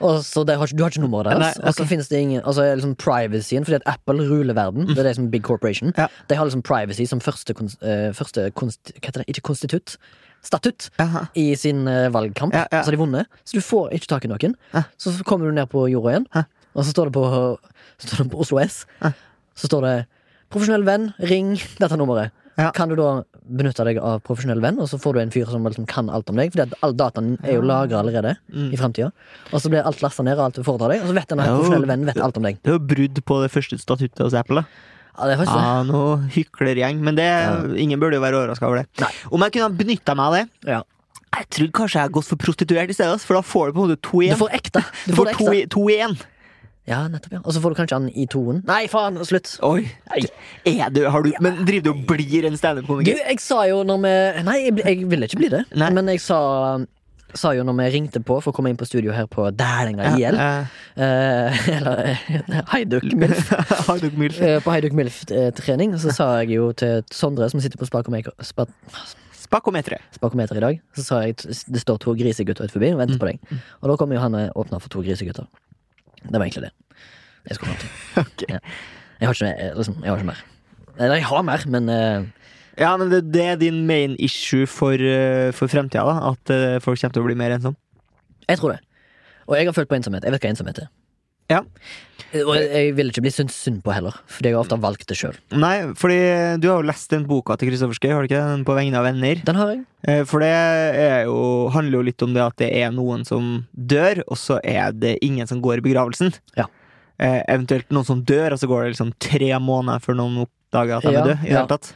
Og så det har, ikke- Du har ikke nummeret
Nei,
deres. Og så
ok.
finnes det ingen Og så er liksom privacyen, fordi at Apple ruler verden. Det er det som big corporation.
Mm. Ja.
De har liksom privacy som første, kons, eh, første konst, Hva heter det? Ikke konstitutt. Statutt
Jaha.
i sin eh, valgkamp.
Ja, ja.
Så har de vunnet. Så du får ikke tak i noen.
Ja.
Så kommer du ned på jorda igjen,
Ja.
og så står det på, [LAUGHS] så står det på Oslo S.
Ja.
Så står det 'Profesjonell venn, ring [LAUGHS] dette nummeret'.
Ja.
Kan du da benytte deg av profesjonell venn, og så får du en fyr som liksom kan alt om deg? Fordi at all dataen er jo lagra allerede i fremtida. Og så blir alt lasta ned, og alt du foretar deg, og så vet den her
Mm. Ja.
profesjonelle vennen vet alt om deg.
Det er jo brudd på det første statuttet hos Apple. da
Ja, det er faktisk det.
Ja, noe hyklergjeng, men det, ingen burde jo være overraska over det.
Nei.
Om jeg kunne ha benytta meg av det
Ja.
Jeg tror kanskje jeg har gått for prostituert i stedet, ass, for da får du på en måte to
Du
igjen.
får ekte. Du
Du
får det
to,
ekte.
i- to igjen.
Ja, nettopp, ja. Og så får du kanskje han i toen. Nei, faen! Slutt.
Oi.
Nei.
Er du, har du, men driver du og blir en
Du,
standup-komiker?
jeg sa jo når vi Nei, jeg, ble- jeg ville ikke bli det.
Nei.
Men jeg sa, sa jo når vi ringte på for å komme inn på studio her på Dælenga IL
Eh,
eh, [LAUGHS] Eller eh, Heiduk Milf.
[LAUGHS] Har du ikke mye
eh, På Heiduk Milf-trening så sa jeg jo til Sondre, som sitter på Spakometer spa,
Spakometre.
Spakometer i dag, så sa jeg at det står to grisegutter ut forbi og venter på
Mm.
deg. Og da kommer jo han og åpner for to grisegutter. Det var egentlig det. Jeg skulle fram til.
[LAUGHS] Ok.
Ja. Jeg, har ikke, eh, liksom, jeg har ikke mer. Eller jeg har mer, men eh,
Ja, men det, det er din main issue for, eh, for fremtida, da. At eh, folk kommer til å bli mer ensomme.
Jeg tror det. Og jeg har følt på ensomhet. Jeg vet hva ensomhet er.
Ja.
Og jeg- jeg vil ikke bli syntes synd på heller, fordi jeg har ofte valgt det sjøl.
Nei, fordi eh, du har jo lest den boka til Kristoffer Schou, har du ikke? det? Den På vegne av venner.
Den har jeg.
Eh, For det er jo, handler jo litt om det at det er noen som dør, og så er det ingen som går i begravelsen.
Ja.
Eh, eventuelt noen som dør, og så går det liksom tre måneder før noen oppdager at de
Ja,
er døde. I det
ja.
hele tatt.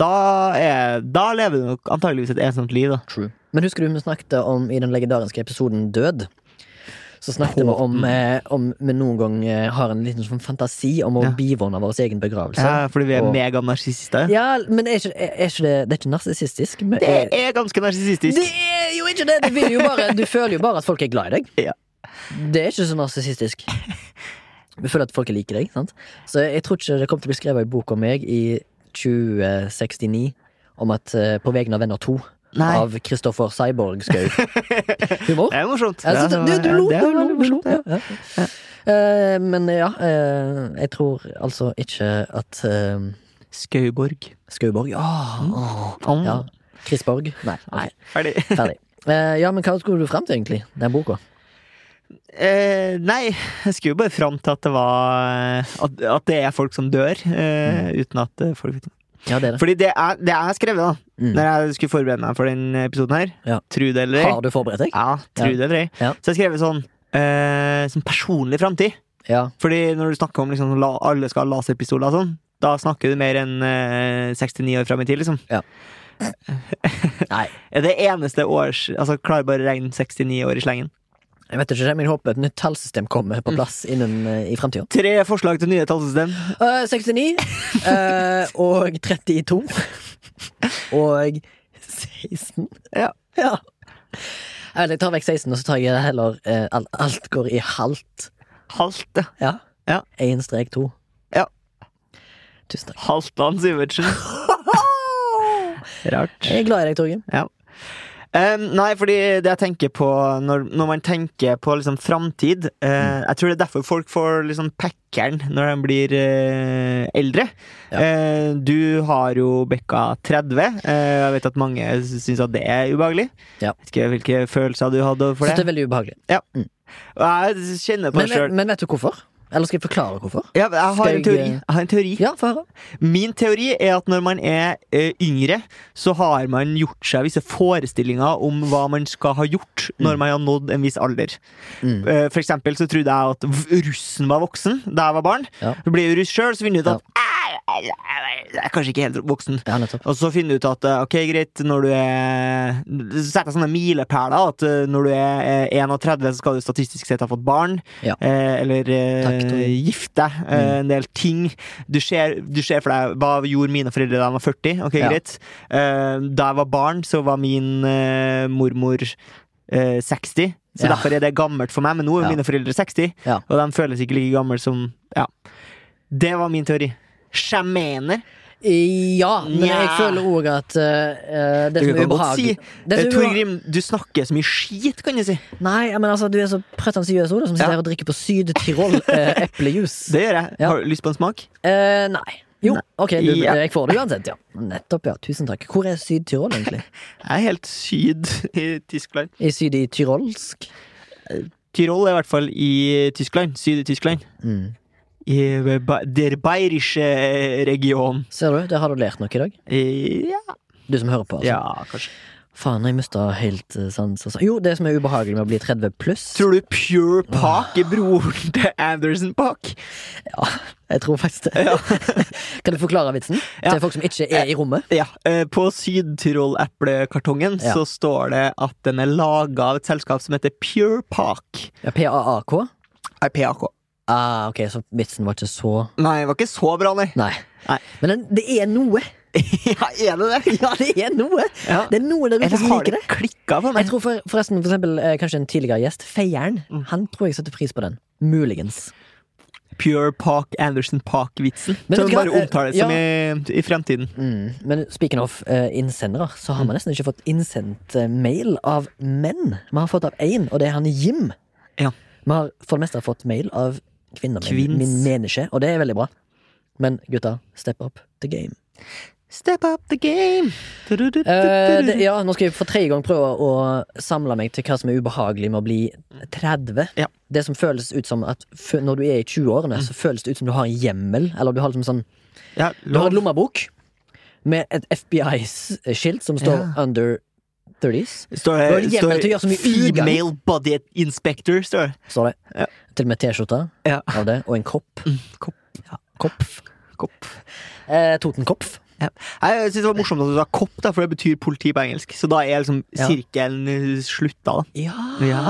Da, er, da lever du nok antageligvis et ensomt liv, da.
True. Men husker du vi snakket om i den legendariske episoden Død? Så snakket vi om eh, om vi noen gang eh, har en liten sånn fantasi om å
Ja.
bivåne vår egen begravelse.
Ja, Eh, fordi vi er
Og-
meganarsissister.
Ja, men er ikke, er, er ikke det Det er ikke narsissistisk? men-
Det er ganske narsissistisk.
Det er jo ikke det! Du, vil jo bare, du føler jo bare at folk er glad i deg.
[LAUGHS] Ja.
Det er ikke så narsissistisk. Du føler at folk liker deg. sant? Så jeg tror ikke det kommer til å bli skrevet en bok om meg i 2069 om at eh, På vegne av Venner 2
Nei.
av Kristoffer Cyborg Skau.
[LAUGHS]
Humor.
Det er morsomt.
Ja,
Ja,
så, du,
det var-
du
ja,
lo,
det var
du lo, du
veldig
lo.
morsomt, ja.
ja, ja. Eh, men ja, eh, jeg tror altså ikke at eh,
Skauborg.
Skauborg Ja! åh,
Om.
ja. Krisborg? Nei. ok.
Ferdig.
Ferdig. Eh, ja, men hva skulle du fram til, egentlig? Den boka?
Eh, nei, jeg skulle jo bare fram til at det var At, at det er folk som dør, eh, uten at eh, folk vet det.
Ja, det er det.
Fordi det er, det jeg har skrevet, da,
Mm.
når jeg skulle forberede meg for den episoden her,
Ja.
tro det eller ei
Har du forberedt deg?
Ja, tro
Ja.
det eller ei.
Ja.
Så jeg skrev sånn eh, Som personlig framtid.
Ja.
Fordi når du snakker om liksom, la, alle skal ha laserpistoler og sånn, da snakker du mer enn eh, 69 år fram i tid, liksom. [LAUGHS]
Nei,
Er det eneste års Altså, klarer bare å regne 69 år i slengen.
jeg vet ikke, men jeg håper et nytt tallsystem kommer
Mm.
på plass innen eh, i framtida.
Tre forslag til nye tallsystem.
69 eh, og 32 og 16.
Ja.
ja. Jeg vet, jeg tar vekk 16, og så tar jeg heller eh, alt, alt går i halvt.
Halvt, ja.
Ja.
Ja.
Én strek to.
Ja. [LAUGHS]
Tusen takk.
Halvdan Sivertsen. Rart.
Jeg er glad i deg, Torgrim.
Em, nei, fordi det jeg tenker på når, når man tenker på liksom framtid
Mm.
eh, Jeg tror det er derfor folk får liksom packeren når de blir eh, eldre.
Ja.
Eh, du har jo bikka 30. Eh, jeg vet at mange syns at det er ubehagelig.
Ja.
Vet ikke hvilke følelser du hadde
Så
for
det
det.
er veldig ubehagelig.
Og Jeg kjenner på
Men,
det sjøl.
men vet du hvorfor? Eller skal jeg forklare hvorfor?
Ja, men jeg, har
Skal
en teori.
jeg-
jeg har en teori.
Ja, få høre.
Min teori er at når man er eh, yngre, så har man gjort seg visse forestillinger om hva man skal ha gjort når man har nådd en viss alder.
Mm.
Eh, for eksempel så trodde jeg at v- russen var voksen da jeg var barn.
Ja.
Så ble jeg russ sjøl, så finner du ut at "Æ, jeg er kanskje ikke helt voksen.
Ja, nettopp.
Og så finner du ut at eh, ok, greit, når du er Sett deg sånne milepæler at eh, når du er eh, 31, så skal du statistisk sett ha fått barn.
Ja.
Eh, eller
Takk, Tore. Mm.
eh, gifte deg. Eh, en del ting. Du ser, du ser for deg hva gjorde mine foreldre da de var 40. Ok,
Ja.
greit. Eh, da jeg var barn, så var min eh, mormor eh, 60. Så
Ja.
derfor er det gammelt for meg, men nå er
Ja.
mine foreldre 60.
Ja.
Og de føles ikke like gamle som Ja. Det var min teori. Sjamener.
Eh, Ja, men
Nja.
jeg føler òg at eh, det
Du
som
kan
er
godt
ubehagelig
si,
det
Eh,
som er ubehag-
Torgrim, du snakker så mye skit, kan du si.
Nei, men altså, du er så pretensiøs, Oda, som sitter
Ja.
her og drikker på Syd-Tirol eh,
[LAUGHS]
eplejus.
Det gjør jeg.
Ja.
Har du lyst på en smak?
Eh, nei. Jo,
Nei.
ok, du,
Ja.
jeg får det uansett, ja. Nettopp, ja. Tusen takk. Hvor er Syd-Tirol, egentlig?
Jeg er helt syd [LAUGHS] i Tyskland.
I syd i tyrolsk?
Tyrol er i hvert fall i Tyskland. Syd i Tyskland.
Mm.
I eh, Ba- der bayerische eh, region.
Ser du, der har du lært noe i dag.
I- Ja,
Du som hører på. Altså.
ja, kanskje.
Faen, jeg mista helt eh, sans. og sans. Jo, det som er ubehagelig med å bli 30 pluss
Tror du Pure
Ah.
Park er broren [LAUGHS] til Anderson Park?
Jeg tror faktisk det. [LAUGHS] kan du forklare vitsen
Ja.
til folk som ikke er i rommet?
Ja, eh, På Syd-Tyrol-eplekartongen
Ja.
så står det at den er laga av et selskap som heter Pure Park.
Ja, P-A-A-K?
Nei, PAK.
Ah, ok, så vitsen var ikke så
Nei, det var ikke så bra, nei.
Nei.
Nei.
Men den, det er noe. [LAUGHS]
ja, er det det?
Ja, det er noe!
Ja.
Det er noen der ute
Eller
som
har
liker
det
det.
klikka for
Jeg
meg?
tror for, forresten for eksempel, eh, kanskje en tidligere gjest, Feieren,
Mm.
han tror jeg setter pris på den. Muligens.
Pure Park, Anderson Park-vitsen.
Men
Som
vet du hva,
bare
eh,
omtales som i, i fremtiden.
Mm. Men speaking of eh, innsendere, så
Mm.
har vi nesten ikke fått innsendt eh, mail av menn. Vi har fått av én, og det er han Jim.
Ja.
Vi har for det meste fått mail av kvinner,
Kvinns.
min, min menneske, og det er veldig bra. Men gutta, step up the game.
Step up the game!
Eh, det, ja, nå skal jeg for tredje gang prøve å samle meg til hva som er ubehagelig med å bli 30.
Ja. Mm.
Det som føles ut som at f når du er i 20-årene, så føles det ut som du har en hjemmel. Eller du har liksom sånn
Ja,
Du har en
lov.
lommebok med et FBI-skilt som står
Ja.
under 30s.
Står
Du har hjemmel
det, står
til å gjøre så
det
mye ugagn.
Female Body Inspector, står det.
Står det.
Ja.
Til og med T-skjorte
Ja. Mm,
av det, og en kopp.
kopp.
Ja, kopf.
Kopp.
Eh, Totenkopf.
Nei, Jeg synes det var morsomt at du sa kopp, da, for det betyr politi på engelsk. Så da er liksom
Ja.
sirkelen eh, slutta, da.
Ja.
Ja.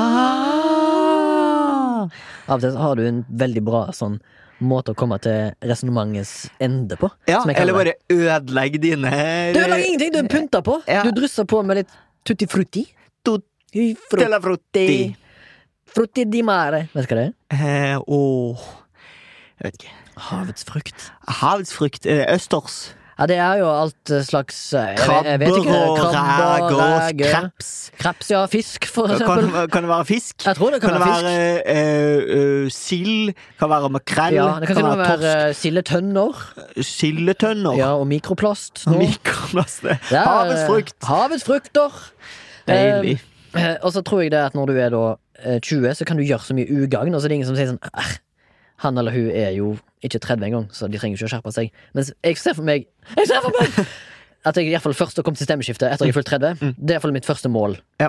Av og til så har du en veldig bra sånn måte å komme til resonnementets ende på.
Ja,
som jeg kaller
eller bare ødelegg dine
det. Du lager ingenting, du pynter på.
Ja.
Du drysser på med litt tutti frutti.
Tutti
Tutti
Telefrutti.
Frutti di mare. Vet du hva det er?
Eh, åh Jeg vet ikke.
Havets frukt.
Havsfrukt. Eh, østers.
Ja, det er jo alt eh, slags eh, jeg vet- jeg
Krabber
vet ikke,
og
krabber,
reker.
reker.
Kreps.
Kreps, ja. Fisk, [LAUGHS] for
Kan,
eksempel.
kan det være fisk?
Jeg tror det kan,
Kan det
være fisk.
være eh, eh, sild? Kan være makrell?
Ja, det kan til og med
torsk?
være eh, sildetønner.
Sildetønner?
Ja, og mikroplast. nå.
Mikroplastene.
Det er, eh,
Havets frukt.
Havets frukter.
Deilig.
Eh, Og så tror jeg det at når du er da eh, 20, så kan du gjøre så mye ugagn, og så er det ingen som sier sånn "Æh, Han eller hun er jo ikke 30 engang, så de trenger ikke å skjerpe seg. Mens jeg ser for meg Jeg ser for meg [LAUGHS] at jeg i hvert fall først har kommet til stemmeskiftet etter jeg er fullt 30.
Mm.
Det er i hvert fall mitt første mål.
Ja.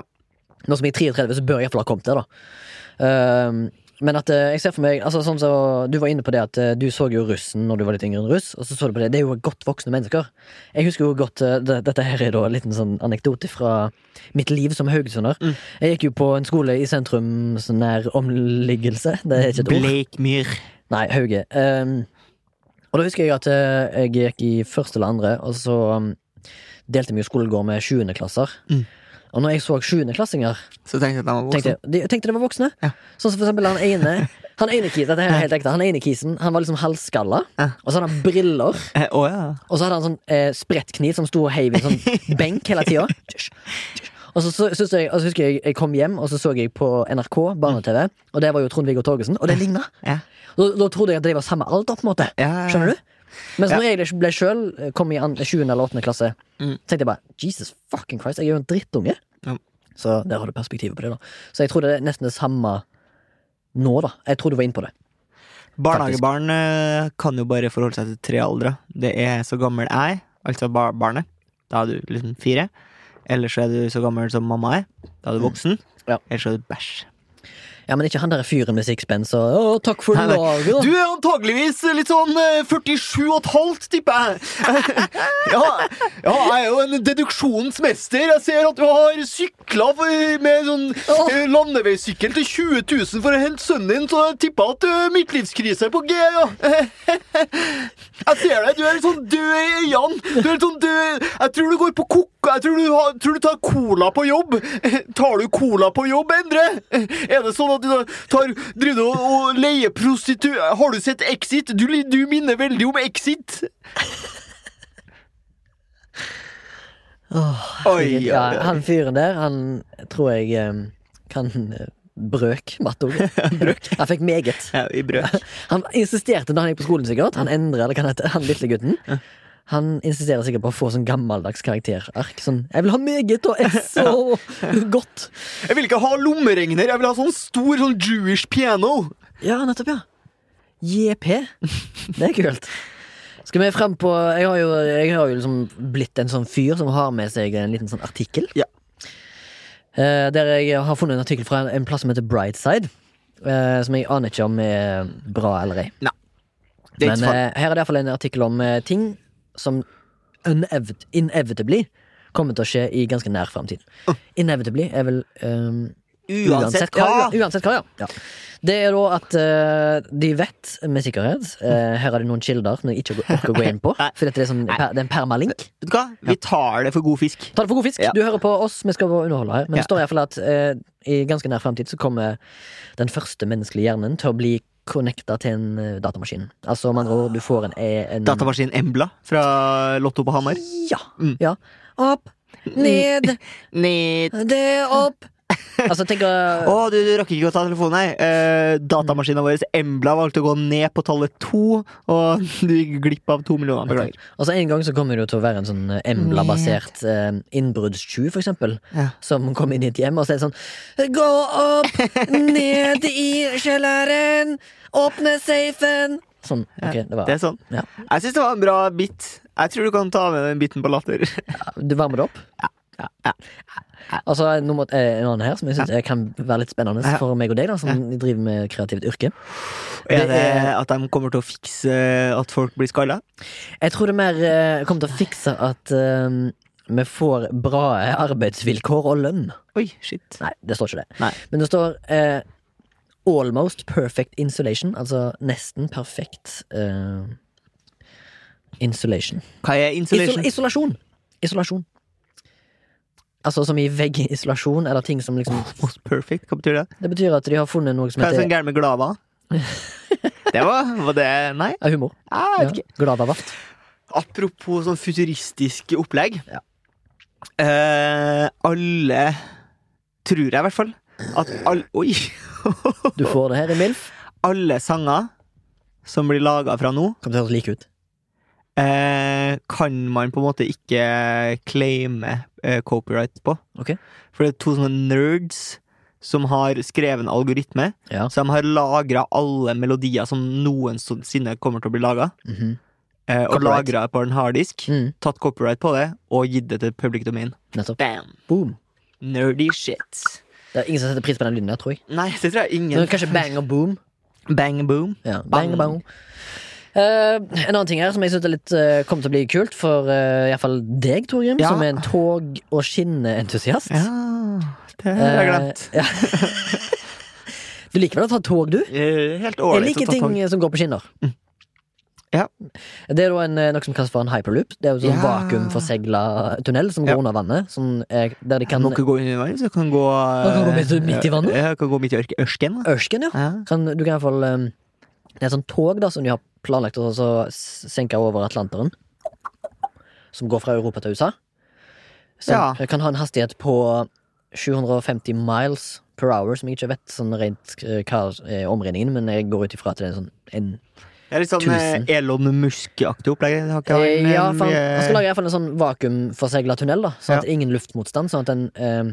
Nå som jeg er 33, så bør jeg i hvert fall ha kommet der, da. Ehm, men at eh, jeg ser for meg altså, sånn så, Du var inne på det at eh, du så jo russen når du var litt yngre enn russ, og så så du på det. Det er jo godt voksne mennesker. Jeg husker jo godt eh, det, Dette her er da en liten sånn anekdote fra mitt liv som haugesunder.
Mm.
Jeg gikk jo på en skole i sentrum sånn nær omliggelse. Det er ikke et ord.
Bleikmyr.
Nei, Hauge. Ehm, og da husker jeg at eh, jeg gikk i første eller andre, og så um, delte vi jo skolegård med sjuendeklasser.
Mm.
Og når jeg så sjuendeklassinger,
Så tenkte jeg at den var
tenkte
voksen.
jeg de, tenkte det var voksne.
Ja.
Sånn som for eksempel han ene. Han ene kisen, dette her er helt ekte, han ene kisen han var liksom halvskalla,
Ja.
og så hadde han briller.
Eh, Å ja.
Og så hadde han sånn eh, sprettkniv som sto og heiv i en
[LAUGHS]
sånn benk hele tida. Og så, så, synes jeg, og så husker jeg jeg kom hjem, og så så jeg på NRK barne-TV, og der var jo Trond-Viggo Torgersen, og det ligna.
Ja.
Da, da trodde jeg at de var samme alder, på en måte.
ja.
Skjønner du?
Eh,
Mens når jeg ble sjøl, kom i an- 7. eller 8. klasse,
Mm.
tenkte jeg bare Jesus fucking Christ, jeg er jo en drittunge.
Ja.
Så der har du perspektivet på det, da. Så jeg tror det er nesten det samme nå, da. Jeg tror du var inne på det.
Barnehagebarn eh, kan jo bare forholde seg til tre aldre. Det er så gammel jeg, altså bar barnet. Da er du liksom fire. Eller så er du så gammel som mamma er. Da er du voksen.
Mm. Ja.
Eller så er du bæsj.
Ja, men ikke han der fyren med sixpence og Å, takk for
Nei, nei.
laget, da.
Du er antageligvis litt sånn eh, 47 og et halvt, tipper
[LAUGHS]
jeg. ja, ja, jeg er jo en deduksjonens mester. Jeg ser at du har sykla for- med sånn
Åh.
eh, landeveissykkel til 20 000 for å hente sønnen din, så jeg tipper at eh, midtlivskrise er på G, ja. [LAUGHS] jeg ser deg, du er litt sånn død i øynene. Du er litt sånn død Jeg tror du går på kokka Jeg tror du, har, tror du tar cola på jobb. [LAUGHS] Tar du cola på jobb, Endre? [LAUGHS] Er det sånn at du tar, driver du og, og leier prostitu... Har du sett Exit? Du, li- du minner veldig om Exit. Oi,
Ja, han fyren der, han tror jeg eh, kan eh, brøk matteordet.
[LAUGHS]
Han fikk meget.
I brøk.
Han insisterte da han gikk på skolen, sikkert. Han endra, eller hva han heter, han lillegutten. Han insisterer sikkert på å få sånn gammeldags karakterark. Sånn 'Jeg vil ha meget og S og godt'.
[LAUGHS] Jeg vil ikke ha lommeregner. Jeg vil ha sånn stor sånn Jewish piano.
Ja, nettopp, ja. JP. Det er kult. Skal vi frem på Jeg har jo, jeg har jo liksom blitt en sånn fyr som har med seg en liten sånn artikkel.
Ja.
Eh, der jeg har funnet en artikkel fra en, en plass som heter Brightside. Eh, som jeg aner ikke om er bra eller ei. Men
Det er ikke så farlig.
eh, her er det iallfall en artikkel om eh, ting som unev- inevitably kommer til å skje i ganske nær framtid. Inevitably er vel eh,
Uansett hva.
ja, u- uansett hva, ja. ja. Det er da at eh, de vet med sikkerhet eh, Her er det noen kilder som jeg ikke orker å gå inn på.
[LAUGHS] Nei.
For dette er, sånn, per, det er en permalink.
Vet du hva? Vi tar det for god fisk.
Ta det for god fisk.
Ja.
Du hører på oss, vi skal underholde her. Men
Ja.
det står i hvert fall at eh, i ganske nær framtid så kommer den første menneskelige hjernen til å bli connecta til en eh, datamaskin. Altså med andre ord, du får en, E, en
Datamaskin Embla fra Lotto på Hamar.
Ja.
Mm.
ja. Opp, ned,
Nei.
det opp. Altså, tenk å
Å, du, du rakk ikke å ta telefonen, nei. Eh, datamaskinen vår Embla valgte å gå ned på tallet to, og [LAUGHS] du gikk glipp av to millioner. Beklager.
Altså En gang så kommer det jo til å være en sånn eh, Embla-basert eh, innbruddstyv, for eksempel.
Ja.
Som kommer inn i et hjem og sier sånn Gå opp, ned i kjelleren, åpne safen. Sånn. Ok, det var
Det er sånn.
Ja.
Jeg syns det var en bra bit. Jeg tror du kan ta med den biten på latter.
Du varmer det opp? Altså, nå måtte, eh, en annen her som jeg synes eh, kan være litt spennende
Ja.
for meg og deg, da, som driver med kreativt yrke.
Er
Det
[LAUGHS] det
er-
at de kommer til å fikse at folk blir skalla?
Jeg tror det mer eh, kommer til å fikse at eh, vi får bra eh, arbeidsvilkår og lønn.
Oi, shit.
Nei, det står ikke det.
Nei.
Men det står eh, almost perfect insulation, altså nesten perfekt eh, insulation.
Hva er insulation?
Isol isolasjon. Isolasjon. Altså som i veggisolasjon, eller ting som liksom
Most perfect, hva betyr det?
Det betyr at de har funnet noe som
Hva er
heter
sånn gærent med
[LAUGHS]
glava? Det var, var det Nei,
Ja, humor.
jeg
Ja.
vet ikke.
Gladavaft.
Apropos sånn futuristisk opplegg.
Ja.
Eh, alle Tror jeg, i hvert fall. At all, oi!
Du får det her i MILF.
Alle sanger som blir laga fra nå,
Kommer til å høres like ut.
eh, kan man på en måte ikke claime eh, copyright på.
Ok.
For det er to sånne nerds som har skrevet en algoritme.
Ja.
Så de har lagra alle melodier som noensinne kommer til å bli laga.
Mhm.
Eh, og
Copyright.
lagra på en harddisk.
Mm,
Tatt copyright på det og gitt det til public domain.
nettopp.
Bam!
Boom.
Nerdy shit.
Det er ingen som setter pris på den lyden der, tror jeg.
Nei, [LAUGHS] det tror jeg ingen.
Men kanskje bang og boom.
Bang boom.
Ja,
Bang.
bang, bang. Eh, en annen ting her som jeg synes er litt eh, kommer til å bli kult for eh, i hvert fall deg, Torgrim,
Ja.
som er en tog- og skinneentusiast.
Ja, Ah, det har jeg
Eh,
glemt.
ja. [LAUGHS] du liker vel å ta tog, du?
Eh, Helt
Jeg
ålreit å
liker
ta
ting
tog.
som går på skinner.
Mm. Ja.
Det er da en, eh, noe som kalles for en hyperloop. Det er jo sånn
Ja.
vakuumforsegla tunnel som går
Ja.
under vannet. Som er, der de kan
Kan må ikke gå under vann, så kan gå eh,
Man kan gå midt- midt i vannet?
Ja, kan gå midt i ørk- ørken. da.
Ørsken, ja.
Ja.
Mm. Kan, du kan i hvert fall eh, Det er et sånt tog da som de har planlagt å så s- senke over Atlanteren. Som går fra Europa til USA. Som
Ja.
kan ha en hastighet på 750 miles per hour, som jeg ikke vet sånn rent eh, hva er omregningen, men jeg går ut ifra at det er sånn en
Det er litt sånn eh,
Tusen.
Elon Musk-aktig opplegg. Det har ikke
Eh,
han, eh,
Ja, for han,
mye-
han skal lage i hvert fall en sånn vakuumforsegla tunnel, da. Sånn
Ja.
at ingen luftmotstand. Sånn at den, eh,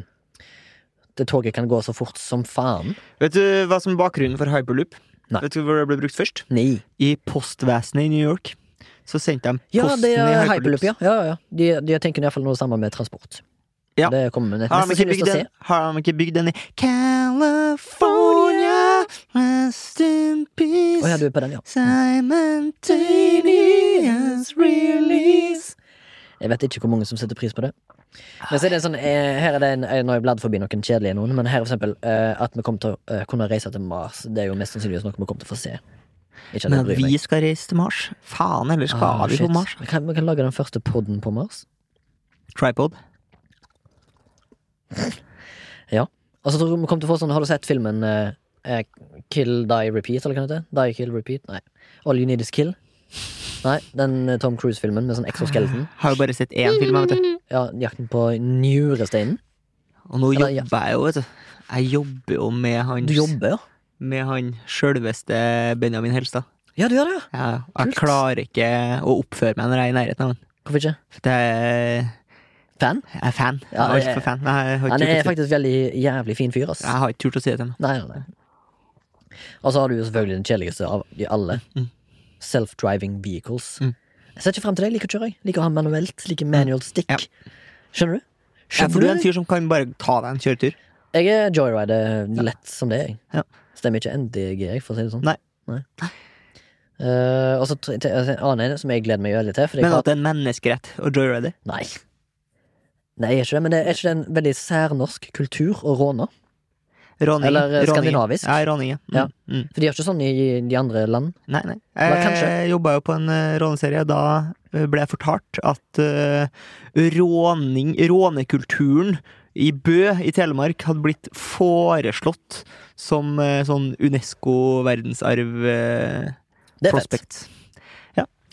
det toget kan gå så fort som faen.
Vet du hva som er bakgrunnen for hyperloop?
Nei.
Vet du hvor det ble brukt først?
Nei.
I postvesenet i New York. Så sendte de
Ja,
posten
det
i
er hyperloop,
hyperloops.
ja. ja, ja. De, de tenker i hvert fall noe sammen med transport.
Ja.
Det kommer vi nett-
Har de,
nesten
ikke
sannsynligvis
bygd
til å
den,
se.
har de ikke bygd den i California, rest in peace,
Å ja, du er på den, ja.
simultaneous release
Jeg vet ikke hvor mange som setter pris på det. Men så er det en sånn, eh, her er det en, eh, Nå har jeg bladd forbi noen kjedelige noen, men her for eksempel eh, at vi kommer til å eh, kunne reise til Mars, det er jo mest sannsynligvis noe vi kommer til å få se. Ikke at jeg
Men
bryr meg.
vi skal reise til Mars. Faen, eller skal
Ah,
vi på
shit.
Mars?
Vi kan, vi kan lage den første podden på Mars.
Tripod.
Og så tror jeg vi kommer til å få sånn Har du sett filmen eh, eh, Kill, Die, Repeat? Eller hva det heter? Die, Kill, Repeat? Nei. All You Need Is Kill? Nei, den eh, Tom Cruise-filmen med sånn exoskeleton.
Har jo bare sett én film, jeg, vet du.
Ja, Jakten på njuresteinen.
Og nå
Eller, ja.
jobber jeg jo, vet du. Jeg jobber jo med han
Du jobber, ja?
Med han sjølveste Benjamin Helstad.
Ja, du gjør det, ja.
Jeg, jeg
Kult.
klarer ikke å oppføre meg når jeg er i nærheten av han.
Hvorfor ikke?
For det er
Fan?
Jeg er fan. Jeg
Ja,
er
jeg-
altfor fan. Nei, Jeg har
Han
ikke
er
turt å si-
faktisk veldig jævlig fin fyr, ass.
jeg har ikke turt å si det til ham.
Nei, nei, nei. Og så har du jo selvfølgelig den kjedeligste av de alle.
Mm.
Self-driving vehicles.
Mm.
Jeg ser ikke frem til det. Jeg liker å kjøre. jeg. Liker å ha manuelt. Liker manual stick.
Ja.
Skjønner du?
Ja, for du er en
du?
fyr som kan bare ta deg en kjøretur.
Jeg er joyrider lett som det, jeg.
Ja.
Stemmer ikke NDG, jeg, for å si det sånn.
Nei.
Eh, og så t- t- en annen en som jeg gleder meg veldig til. Fordi jeg
Men
har...
at det er en menneskerett å joyride.
Nei. Nei, jeg er ikke det, men det er ikke det en veldig særnorsk kultur å råne?
Råninge.
Eller, eh,
Råninge.
skandinavisk.
Ja, råninge. Mm.
Ja.
Mm.
For de gjør ikke sånn i de andre land.
Nei, nei.
Eller kanskje.
Jeg jobba jo på en eh, råneserie. Da eh, ble jeg fortalt at eh, råning, rånekulturen i Bø i Telemark hadde blitt foreslått som eh, sånn eh, UNESCO-verdensarv-prospekt.
Det er fett.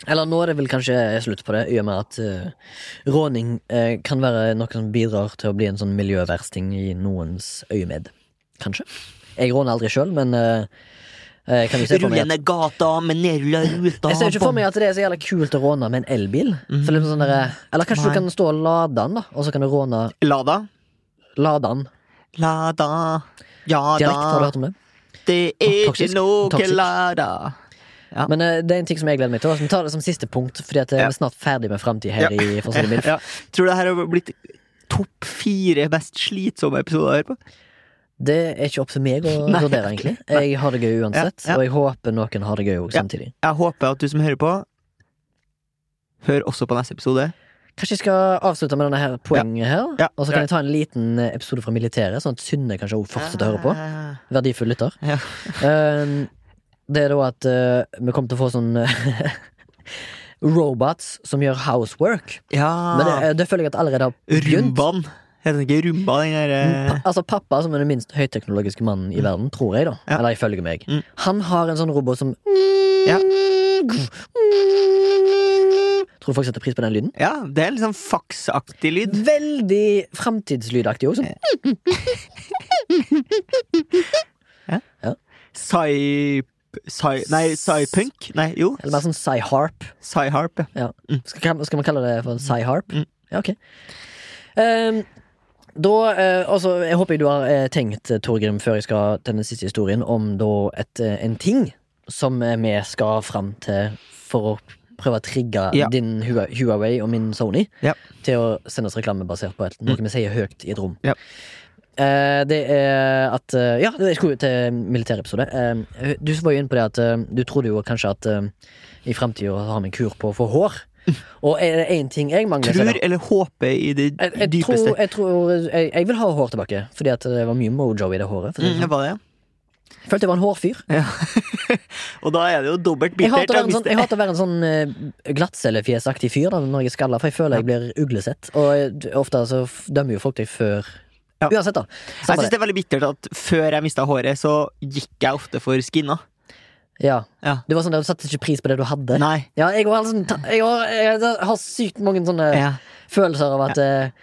Eller nå er det vel kanskje slutt på det, i og med at eh, råning eh, kan være noe som bidrar til å bli en sånn miljøversting i noens øyemed. Kanskje. Jeg råner aldri sjøl, men eh, eh, kan du se for meg at
Rullende gata med nedrulla ruta
Jeg ser ikke for meg at det er så jævla kult å råne med en elbil. Så liksom sånn der, eller kanskje
Nei.
du kan stå og lade den, da, og så kan du råne
Lada.
lade den.
Lada. Ja da.
Dialekt, har du hørt om det?
Det er
Å,
ikke
toksisk.
noe
Toksisk.
lada. Ja.
Men eh, det er en ting som jeg gleder meg til, og som tar det som siste punkt, fordi at eh,
Ja. [LAUGHS]
vi er snart ferdig med framtid her i For å si det mildt.
Ja. Tror du det her har blitt topp fire mest slitsomme episoder her på.
Det er ikke opp til meg å
[LAUGHS] Nei.
vurdere, egentlig. Jeg har det gøy uansett,
Ja, ja.
og jeg håper noen har det gøy òg
Ja.
samtidig.
Jeg håper at du som hører på, hør også på neste episode.
Kanskje jeg skal avslutte med denne her poenget her,
Ja.
og så kan jeg ta en liten eh, episode fra militæret, sånn at Synne kanskje også fortsetter å høre på. Verdifull lytter.
Ja.
Eh, det er da at eh, vi kommer til å få sånn eh, [LAUGHS] Robots som gjør housework.
Ja
Men det,
Ah.
det føler jeg at allerede har begynt.
Rumbaen. Heter den ikke Rumba, den eh,
Pa,
derre
altså Pappa, som er den minst høyteknologiske mannen i verden, tror jeg, da.
Mm. Ja.
Eller ifølge meg.
Mm.
Han har en sånn robot som
Ja.
Tror du folk setter pris på den lyden?
Ja, det er litt sånn faksaktig lyd.
Veldig framtidslydaktig òg.
Psy... Psy... Nei, psypunk? Nei, jo.
Eller mer sånn psy-harp.
Psyharp, ja.
Ja. Skal, skal man kalle det for psy-harp?
Mm.
Ja, ok. Ehm, da, eh, altså, jeg håper du har eh, tenkt, eh, Torgrim, før jeg skal til den siste historien, om da et, eh, en ting som eh, vi skal fram til for å prøve å trigge
Ja.
din Hua- Huawei og min Sony
Ja. Mm.
til å sende oss reklame basert på et, noe vi sier høyt i et rom.
Ja.
Eh, det er at eh, Ja, jeg skulle jo til militærepisode. Eh, du var jo inne på det at eh, du trodde jo kanskje at eh, i framtida har vi en kur på å få
[LAUGHS]
hår. Og er det én ting jeg mangler så er
Tror
det-
eller håper i det
jeg, jeg,
dypeste.
tror, jeg, tror, jeg, jeg vil ha hår tilbake, fordi at det var mye mojo i det håret. For å si det
Mm,
sånn.
det var det.
Jeg følte jeg var en hårfyr.
[LAUGHS] Og da er det jo dobbelt
Jeg
bittert.
hater å
å
være en sånn,
miste-
jeg hater å være en sånn eh, glattcellefjesaktig fyr da, når jeg er skalla, for jeg føler jeg blir uglesett. Og d- ofte så f- dømmer jo folk deg før
Ja.
Uansett, da.
Jeg
Samme
syns det er veldig bittert at før jeg mista håret, så gikk jeg ofte for skinna.
det. Ja.
Ja.
Du var sånn der, du satte ikke pris på det du hadde.
Nei.
Ja, jeg, var sånn, ta- jeg, har, jeg har sykt mange sånne
Ja.
følelser av at eh,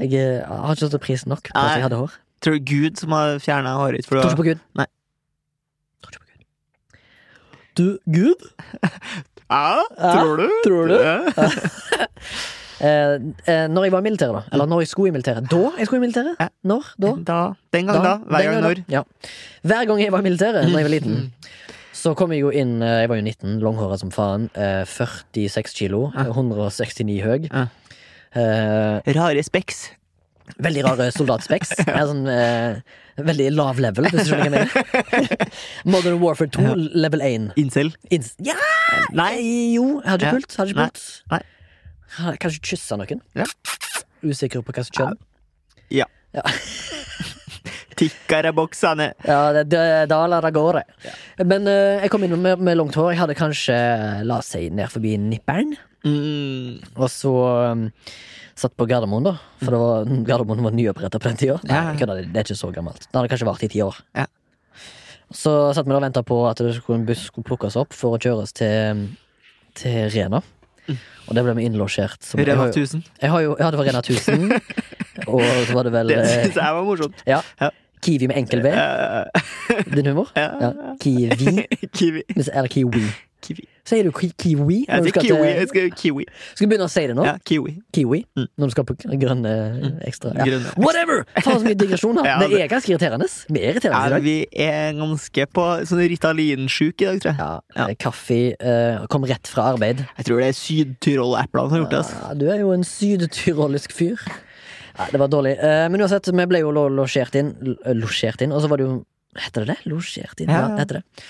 jeg eh, har ikke satt pris nok på at
Nei.
jeg hadde hår.
Tror du Gud som har fjerna håret ditt? For
Tror
du,
ikke på Gud.
Nei.
Tror ikke på Gud. Du, Gud?
ja, tror du?
Tror du?
Ja.
Eh, eh, når jeg var i militæret, da. Eller når jeg skulle i militæret. Da jeg skulle i militæret?
Ja.
Når? Da?
[LAUGHS] Da. Den gang da. Hver
Den
gang når.
da. Ja. Hver gang jeg var i militæret, da jeg var liten,
[LAUGHS]
så kom jeg jo inn eh, Jeg var jo 19, langhåra som faen. eh, 46 kilo.
Ja.
169 høy.
Ja.
Eh,
Rare speks.
veldig rare
[LAUGHS]
soldatspeks. ja. sånn, eh, veldig lav level, hvis du skjønner hva jeg
[LAUGHS]
mener. [LAUGHS] Modern Warfare 2, level 1.
Incel.
Ins ja! Nei, jo, jeg hadde ikke
Ja.
pult. Hadde ikke
Nei.
pult. Ha- Kanskje kyssa noen.
Ja.
Usikker på hva som kjønn.
Tikkere boksene.
Ja, det, det, da lar det gå, det. Men eh, jeg kom inn med, med langt hår. Jeg hadde kanskje eh, la seg ned forbi nipperen.
Mm.
Og så um, satt på Gardermoen, da. For det var, Gardermoen var nyoppretta på den tida. Nei,
Mm. Ja.
jeg kødder, det er ikke så gammelt. Det hadde kanskje vart i ti år.
Ja.
Så satt vi da og venta på at det skulle, en buss skulle plukkes opp for å kjøre oss til, til Rena.
Mm.
Og der ble vi innlosjert. som- jeg har
Rema
jo-
1000.
Jeg har jo, ja, det var Rena
[LAUGHS]
1000. og så var det vel
Det [LAUGHS]
eh,
syns jeg var morsomt.
ja,
Ja.
Kiwi med enkel V.
Eh, [LAUGHS]
Din humor?
Ja. [LAUGHS]
Kiwi.
kiwi.
Hvis- Eller Kiwi.
kiwi.
Sier du ki- Kiwi?
Jeg
når du
sier
skal
kiwi.
til-
Jeg skal kiwi.
Skal du begynne å si det nå?
Ja, kiwi.
Kiwi.
Mm.
Når du skal på grønne ekstra. Ja.
Grønne.
Whatever! Faen så mye digresjoner.
[LAUGHS] Ja,
det
det-
er ganske irriterende. Vi er irriterende i
Ja,
dag.
vi er ganske på sånn Ritalin-sjuk i dag, tror jeg.
Ja,
Ja.
eh, Kaffe eh, kom rett fra arbeid.
Jeg tror det er Syd-Tyrol-eplene som har gjort det. Altså.
Ja, du er jo en sydtyrolisk fyr. Ja, det var dårlig. Eh, Men uansett, vi ble jo lo- losjert inn. l- eh, Losjert inn, og så var det jo Heter det det? Losjert inn?
Ja,
Ja,
ja.
det heter det.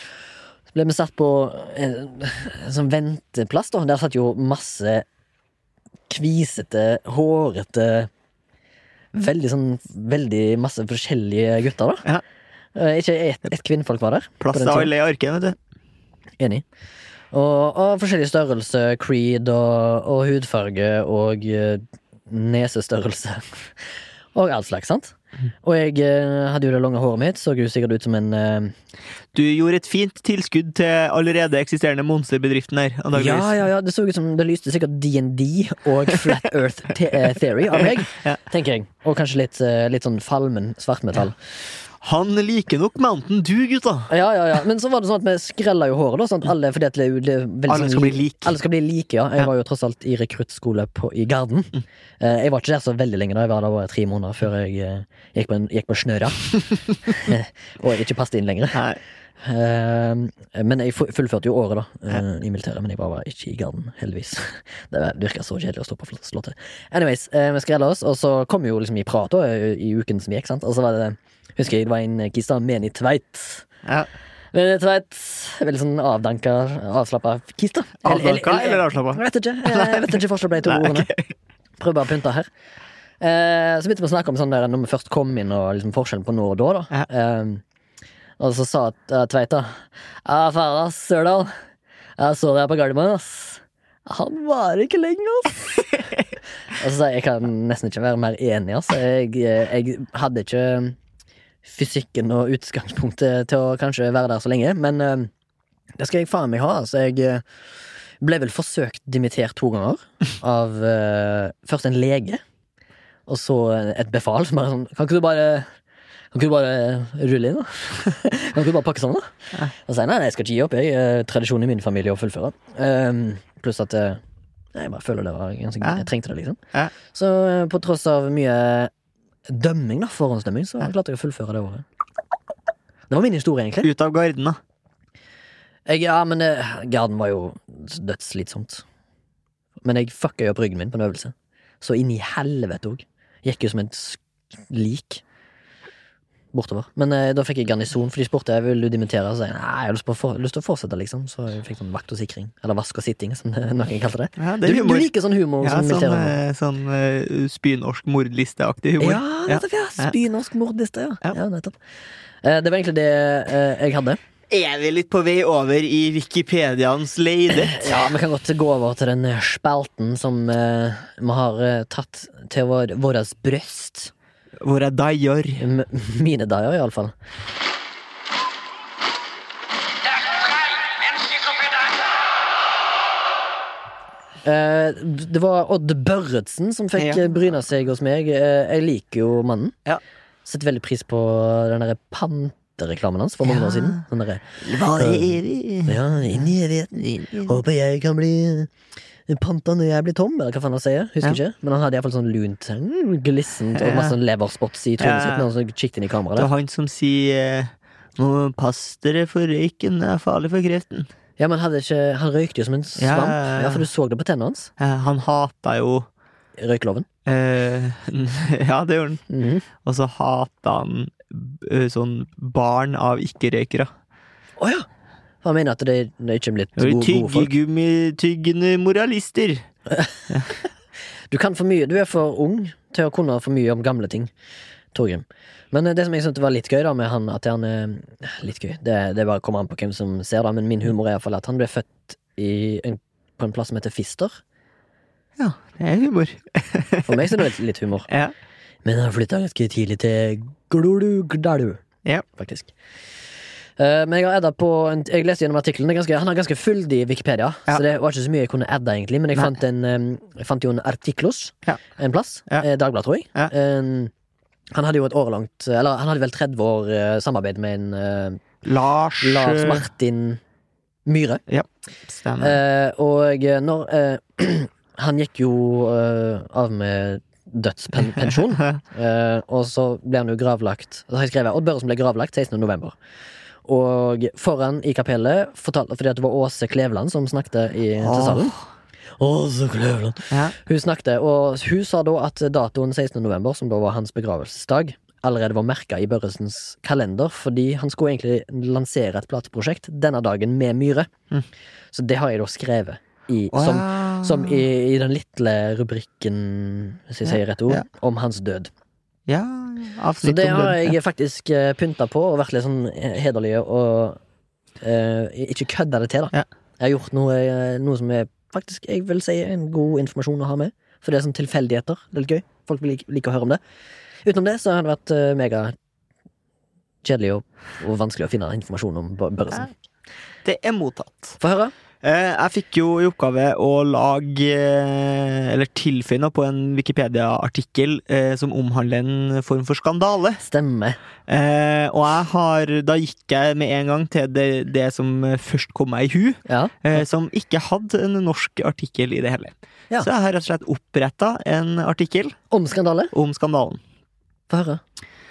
Så ble vi satt på en, en sånn venteplass, da. Der satt jo masse kvisete, hårete Veldig sånn Veldig masse forskjellige gutter, da.
Ja.
Eh, Ikke ett et kvinnfolk var der. på
Plass
den
til
tiden.
alle i arken, vet du.
Enig. Og, og forskjellig størrelse, creed og, og hudfarge og eh, nesestørrelse. [LAUGHS] og all slags, sant? Og jeg eh, hadde jo det lange håret mitt, så jo sikkert ut som en eh,
Du gjorde et fint tilskudd til allerede eksisterende monsterbedriften her.
Ja,
antageligvis.
ja, ja, det så ut som det lyste sikkert DND og Flat Earth the eh, Theory av meg,
Ja.
tenker jeg. Og kanskje litt, eh, litt sånn falmen svartmetall.
Han liker nok Mountain Dew, gutta.
Ja, ja, ja. Men så var det sånn at vi skrella jo håret, da. Sånn at alle, fordi at det, er jo- det, er veldig
Alle
sånn
skal bli
li-
lik.
Alle skal bli like, ja. Jeg
Ja. Mm.
var jo tross alt i rekruttskole på- i Garden. Eh, Jeg var ikke der så veldig lenge da. Jeg var der bare tre måneder før jeg eh, gikk på, en- gikk på snøra.
[LAUGHS]
[LAUGHS] Og jeg ikke passet inn lenger.
Nei.
Eh, Men jeg fu- fullførte jo året, da, eh, i militæret. Men jeg bare var ikke i Garden, heldigvis. [LAUGHS] Det var- virka så kjedelig å stå på flott- Slottet. Anyways, eh, vi skrella oss, og så kom vi jo liksom i prat da, i i uken som gikk, sant. Og så var det Husker jeg det var en eh, kis da, Meni Tveit.
Ja.
Men det var et veldig sånn avdanka, avslappa kis, da.
Avdanka eller avslappa?
Jeg vet ikke. Jeg vet ikke forskjell på de to
Nei,
ordene. Prøv bare å pynte her. Eh, så begynte vi å snakke om sånn der når vi først kom inn, og liksom forskjellen på nå og da. da.
Ja.
Eh, og så sa eh, Tveit da Ja, faen, ass, Sørdal. Jeg så deg på Gardermoen, ass. Han varer ikke lenge, ass.
[LAUGHS]
og så sa jeg jeg kan nesten ikke være mer enig, ass. Jeg, eh, jeg hadde ikke fysikken og utgangspunktet til å kanskje være der så lenge, men eh, det skal jeg faen meg ha. Altså, jeg eh, ble vel forsøkt dimittert to ganger. Av eh, først en lege, og så et befal som bare sånn Kan ikke du bare kan ikke du bare rulle inn, da? [LAUGHS] kan ikke du bare pakke sammen, da? Og så sier jeg nei, nei, jeg skal ikke gi opp. jeg eh, Tradisjonen i min familie å fullføre. Ehm, pluss at eh, jeg bare føler det var ganske
Ja.
Jeg trengte det, liksom.
Ja.
Så eh, på tross av mye dømming, da, forhåndsdømming, så klarte jeg å fullføre det året. Det var min historie, egentlig.
Ut av garden, da.
Jeg, ja, men eh, Garden var jo dødsslitsomt. Men jeg fucka jo opp ryggen min på en øvelse. Så inn i helvete òg. Gikk jo som et sk- lik bortover. Men eh, da fikk jeg garnison, for de spurte jeg vil du dimittere. Og så sa jeg nei, jeg har lyst, på å for, lyst til å fortsette, liksom. Så jeg fikk sånn vakt og sikring. Eller vask og sitting, som [LAUGHS] det- noen kalte det.
Ja,
Du,
det
du
er humor.
liker sånn humor som
Ja, sånn,
militæret?
eh, sånn eh, spynorsk mordlisteaktig humor.
Ja, nettopp, ja.
Ja.
Spynorsk mordliste, ja.
Ja.
ja. nettopp. Eh, Det var egentlig det eh, jeg hadde.
Er vi litt på vei over i Wikipediaens leide?
Ja, vi kan godt gå over til den spelten som eh, vi har eh, tatt til vår, våres brøst.
Hvor er Dajor?
M mine dager, iallfall.
Das frei, menschlich so bedankt.
Uh, det var Odd Børretzen som fikk
Ja.
eh, bryna seg hos meg. Eh, jeg liker jo mannen.
Ja.
Setter veldig pris på den derre pantereklamen hans for mange
Ja.
år siden. Den derre
Hva
Ja, inn i evigheten. Håper jeg kan bli panta når jeg blir tom, eller hva faen han sier. Husker ikke. Men han hadde iallfall sånn lunt, mm, glissent og
Ja.
masse sånn leverspots i trynet
Ja.
sitt. Når han kikket inn i kameraet.
Det
der.
er han som sier Må pass dere for røyken, det er farlig for kreften.
Ja, men hadde ikke, Han røykte jo som en
Ja,
svamp.
ja, ja.
Ja, For du så det på tennene hans.
Eh, Han hata jo
Røykloven.
eh, [LAUGHS] Ja, det gjorde han.
Mhm.
Og så hata han eh, sånn barn av ikke-røykere.
Å ja! Han mener at det det er ikke blitt Altså, gode, gode folk.
Tyggegummi-tyggende moralister.
Du kan for mye, du er for ung til å kunne for mye om gamle ting. Torgrim. Men eh, det som jeg syntes var litt gøy da med han, at han eh, Litt gøy, det, det bare kommer an på hvem som ser det, men min humor er iallfall at han ble født i en, på en plass som heter Fister.
Ja, det er humor.
For meg så er det litt- litt humor.
Ja.
Men han flytta ganske tidlig til Glulugdalu,
Ja.
faktisk. Eh, Men jeg har edda på en, Jeg leste gjennom artikkelen. det er ganske- Han har ganske fyldig Wikipedia,
Ja.
så det var ikke så mye jeg kunne edda, egentlig. Men jeg
Nei.
fant, en, eh, jeg fant jo en artiklos
Ja.
en plass.
Ja.
eh, Dagbladet, tror jeg.
Ja.
Eh, han hadde jo et årelangt Eller han hadde vel 30 år eh, samarbeid med en eh,
Lars,
Lars
eh,
Martin Myhre.
Stemmer.
Eh, og eh, når eh, [CLEARS THROAT] Han gikk jo eh, av med [LAUGHS] dødspensjon. Eh, og så ble han jo gravlagt. Da har jeg skrevet Odd Børresen ble gravlagt 16. november. Og foran i kapellet fortalte fordi at det var Åse Kleveland som snakket i, til salen. Ah. Åse Kleveland
Ja.
Hun snakket, og hun sa da at datoen 16. november, som da var hans begravelsesdag, allerede var merka i Børresens kalender, fordi han skulle egentlig lansere et plateprosjekt denne dagen med Myhre.
Mm.
Så det har jeg da skrevet i, som
Wow.
som i, i den lille rubrikken, hvis jeg
Ja,
sier rett ord,
ja.
om hans død.
Ja,
Så
avsnitt
det
om
har
den.
jeg faktisk eh, pynta på, og vært litt sånn eh, hederlig og eh, ikke kødda det til, da.
Ja.
Jeg har gjort noe, eh, noe som er faktisk, jeg vil si, en god informasjon å ha med. For det er sånn tilfeldigheter. Det er litt gøy. Folk vil like, like å høre om det. Utenom det så har det vært eh, mega kjedelig og, og vanskelig å finne informasjon om Bør- Børresen.
Det er mottatt.
Få høre.
Eh, Jeg fikk jo i oppgave å lage, eh, eller tilfinne på en Wikipedia-artikkel eh, som omhandler en form for skandale.
Stemmer.
Eh, og jeg har, da gikk jeg med en gang til det, det som først kom meg i hu,
Ja.
eh, som ikke hadde en norsk artikkel i det hele.
Ja.
Så jeg har rett og slett oppretta en artikkel
Om skandale?
om skandalen.
Få høre.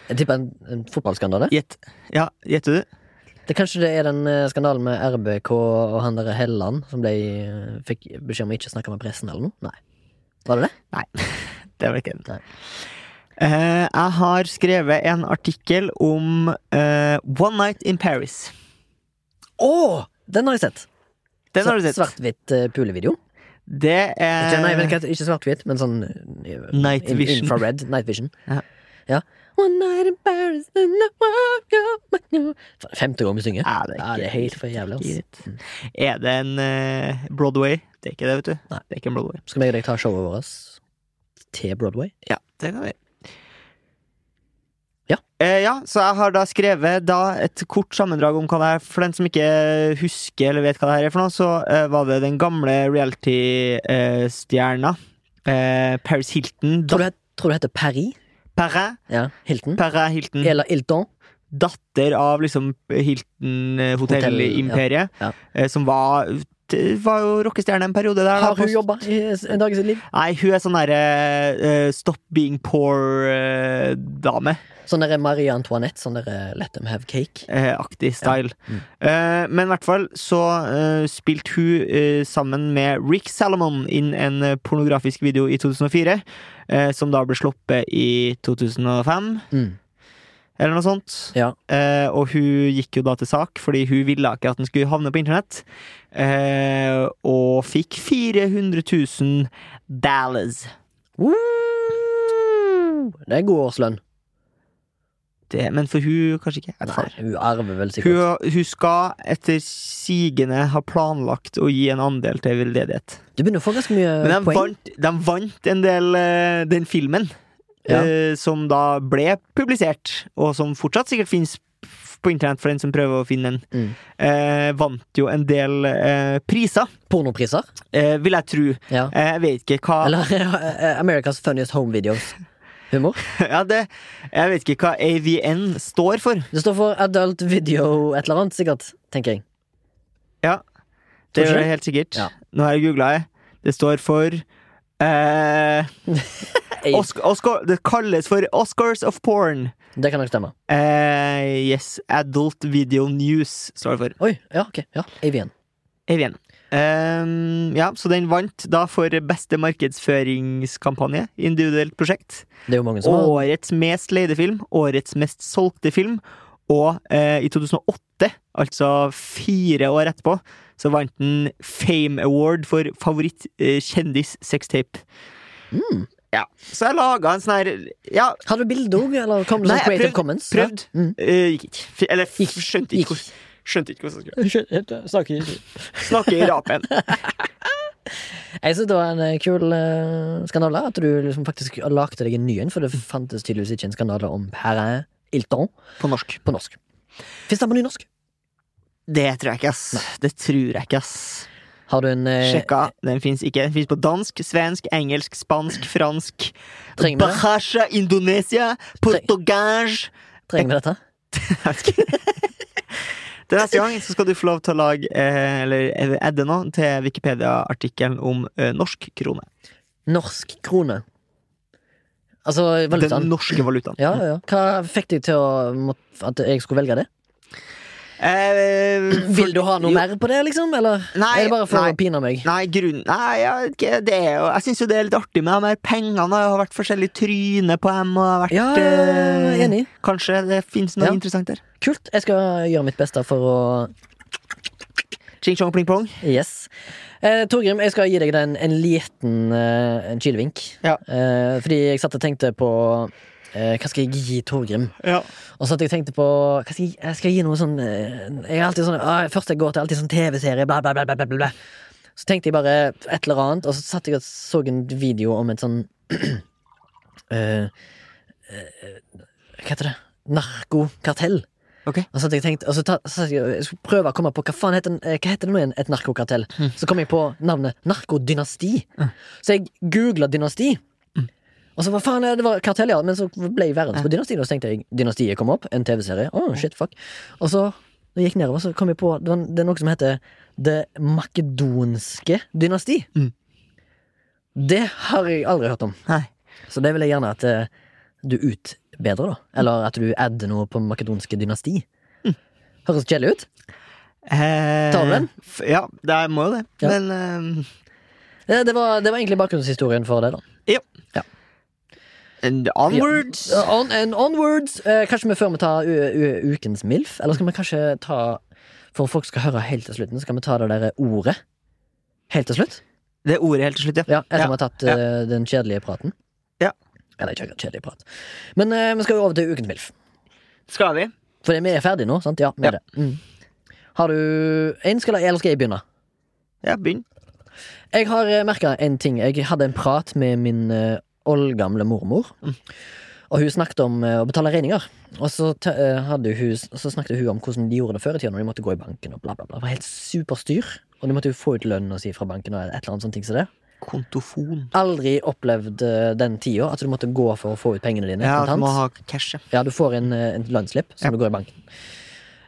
Jeg tipper en, en fotballskandale.
Gjett. Ja, gjetter du?
Det Kanskje det er den eh, skandalen med RBK og han derre Helland som ble, eh, fikk beskjed om å ikke snakke med pressen eller noe? Nei. Var det det?
Det var ikke den.
Nei.
Eh, jeg har skrevet en artikkel om eh, One Night in Paris.
Å! Den har jeg sett.
Den har du sett.
Svart-hvitt eh, pulevideo.
Det er
Ikke, nei, vel, ikke ikke svart-hvitt, men sånn eh,
Night
in-
vision.
Infrared. Night vision.
Ja.
Ja. One night in Paris and I walk out my door. Faen, Femte gang vi synger.
Ja, det er
Ja,
ikke-
det er helt for jævlig. ass.
Gitt. Er det en eh, Broadway? Det er ikke det, vet du.
Nei.
Det er ikke en Broadway.
Skal meg og deg ta showet vårt til Broadway?
Ja, det kan vi.
Ja.
Eh, ja, så jeg har da skrevet da et kort sammendrag om hva det er. For den som ikke husker eller vet hva det her er for noe, så eh, var det den gamle reality-stjerna eh, Paris Hilton.
Tror
Dat
du, het- tror du det heter Paris?
Perrin,
Ja. Hilton?
Perrin Hilton.
Eller Ilton?
datter av liksom Hilton-hotellimperiet, eh,
ja.
som var det var jo rockestjerne en periode der. da,
Har
på-
hun jobba en dag i sitt liv?
Nei, hun er sånn derre Stop being eh, poor-dame.
Sånn derre Marie Antoinette, sånn derre Let them have cake.
eh, aktig style.
Mm.
Eh, men i hvert fall så eh, spilte hun eh, sammen med Rick Salomon inn en eh, pornografisk video i 2004, eh, som da ble sluppet i 2005,
Mm.
eller noe sånt.
Ja.
Eh, og hun gikk jo da til sak, fordi hun ville ikke at den skulle havne på internett. Eh, og fikk 400 000 dollars.
Det er god årslønn.
Det, men for hun kanskje ikke. Jeg vet
Nei,
faen.
hun arver vel sikkert.
Hun, hun skal etter sigende ha planlagt å gi en andel til veldedighet.
Du begynner å få ganske
Men
mye
de
Eh, poeng.
vant, de vant en del eh, den filmen,
Ja.
eh, som da ble publisert, og som fortsatt sikkert fins på internett for den som prøver å finne den.
Mm.
Eh, vant jo en del eh, priser,
Pornopriser.
eh, vil jeg tro.
Ja.
Eh, jeg vet ikke hva
Eller [LAUGHS] eh, America's Funniest Home Videos-humor.
[LAUGHS] ja, det, Jeg vet ikke hva AVN står for.
Det står for Adult Video et eller annet, sikkert. Tenker jeg.
Ja,
Tror
det
du
gjør
ikke
det helt sikkert.
Ja.
Nå har jeg googla det. Det står for eh,
[LAUGHS] Ei,
Oscar, Oscar, Det kalles for Oscars of porn.
det kan nok stemme.
Eh, yes, Adult Video News står det for.
Oi, ja, ok. Ja, AVN.
AVN. Eh, ja, så den vant da for beste markedsføringskampanje, individuelt prosjekt.
Det er jo mange som har
Årets mest leide film, årets mest solgte film, og eh, i 2008, altså fire år etterpå, så vant den Fame Award for favoritt eh, kjendis sextape.
Mm.
Ja, så jeg laga en sånn her Ja,
Har du bilde òg, eller kom det
Nei,
sånn
jeg
Creative
prøvd-
Commons?
prøvd.
Ja. Mm.
eh, gikk ikke. F- Eller f-
Gikk.
skjønte
Gikk.
ikke, hvor- skjønte ikke hvordan [LAUGHS] jeg skulle
Snakker ikke.
snakke i rapen.
Jeg synes det var en eh, kul eh, skandale At du liksom faktisk lagde deg en ny en For det fantes tydeligvis ikke en skandale om Perrin Hilton
På norsk.
på norsk Finnes den på nynorsk?
Det tror jeg ikke, ass. Det tror jeg ikke, ass.
Har du en eh,
Sjekka. Den fins ikke. Den fins på dansk, svensk, engelsk, spansk, fransk.
Trenger vi det?
Bahasha, Indonesia,
[LAUGHS]
portugage
trenger med dette?
Til neste gang så skal du få lov til å lage eh, eller edde nå til Wikipedia-artikkelen om eh, norsk krone.
Norsk krone Altså valutaen
Den norske valutaen.
ja, ja, ja. Hva fikk deg til å, måtte- at jeg skulle velge det?
Eh, for-
Vil du ha noe
jo,
mer på det liksom? Eller
Nei,
er det bare for
nei.
å pine meg?
Nei, grunnen Nei, jeg, vet ikke, det er jo, jeg syns jo det er litt artig med de her pengene. og Det har vært forskjellige tryner på dem. Og det har vært,
Ja, jeg er enig
Eh, kanskje det fins noe
Ja.
interessant der.
Kult, jeg skal gjøre mitt beste for å
Ching chong pling plong.
Yes. Eh, Torgrim, jeg skal gi deg den, en liten eh, en kilevink.
Ja.
Eh, fordi jeg satt og tenkte på eh, Hva skal jeg gi Torgrim?
Ja.
Og så at jeg tenkte på hva skal jeg, jeg skal gi noe sånn eh, Jeg er alltid sånn ah, Først jeg går til alltid sånn TV-serie, bla, bla, bla, bla, bla, bla, bla. Så tenkte jeg bare et eller annet, og så satt jeg og så en video om en sånn [CLEARS THROAT] eh, eh, Hva heter det? Narkokartell.
Ok.
Og så hadde jeg tenkt og så ta, så hadde jeg, jeg skulle prøve å komme på hva faen heter, den- eh, hva heter det nå igjen? Et narkokartell. Så kom jeg på navnet narkodynasti. Så jeg googla dynasti. Og så hva faen er det var kartell, ja. Men så ble jeg verdens på dynasti. Og så tenkte jeg dynastiet kom opp. En TV-serie. Å, shit, fuck. Og så når jeg gikk nedover, så kom jeg på det, var, det er noe som heter Det makedonske dynasti.
Mm.
Det har jeg aldri hørt om.
Nei.
Så det vil jeg gjerne at eh, du utbedrer, da. Eller at du adder noe på makedonske dynasti. Høres kjedelig ut.
Eh,
Tar du den?
f- Ja, det er, må jo det.
Ja.
Men eh,
Eh, Det var, det var egentlig bakgrunnshistorien for det, da.
and onwards.
Ja. Uh, On and onwards. Eh, kanskje vi før vi tar u- u- ukens MILF, eller skal vi kanskje ta For folk skal høre helt til slutten, så skal vi ta det der ordet helt til slutt?
Det ordet helt til slutt, ja.
Ja, etter
Ja,
vi har tatt eh, den kjedelige praten.
Ja.
Eller ikke akkurat kjedelig prat. Men eh, vi skal jo over til ukens MILF.
Skal vi?
Fordi vi er ferdige nå, sant? Ja, vi er
Ja.
det. Mm. Har du en, skal, eller skal jeg begynne?
Ja, begynn.
Jeg har merka en ting. Jeg hadde en prat med min eh, oldgamle mormor.
Mm.
Og hun snakket om eh, å betale regninger. Og så, te- eh, hadde hun, så snakket hun om hvordan de gjorde det før i tida, når de måtte gå i banken og bla, bla, bla. Det var helt superstyr. Og de måtte jo få ut lønna si fra banken og et eller annet sånt ting som det.
Kontofon.
Aldri opplevd eh, den tida at du måtte gå for å få ut pengene dine.
Ja, du
kontant.
må ha cash, ja.
Ja, du får en, eh, en lønnsslipp som
Ja.
du går i banken.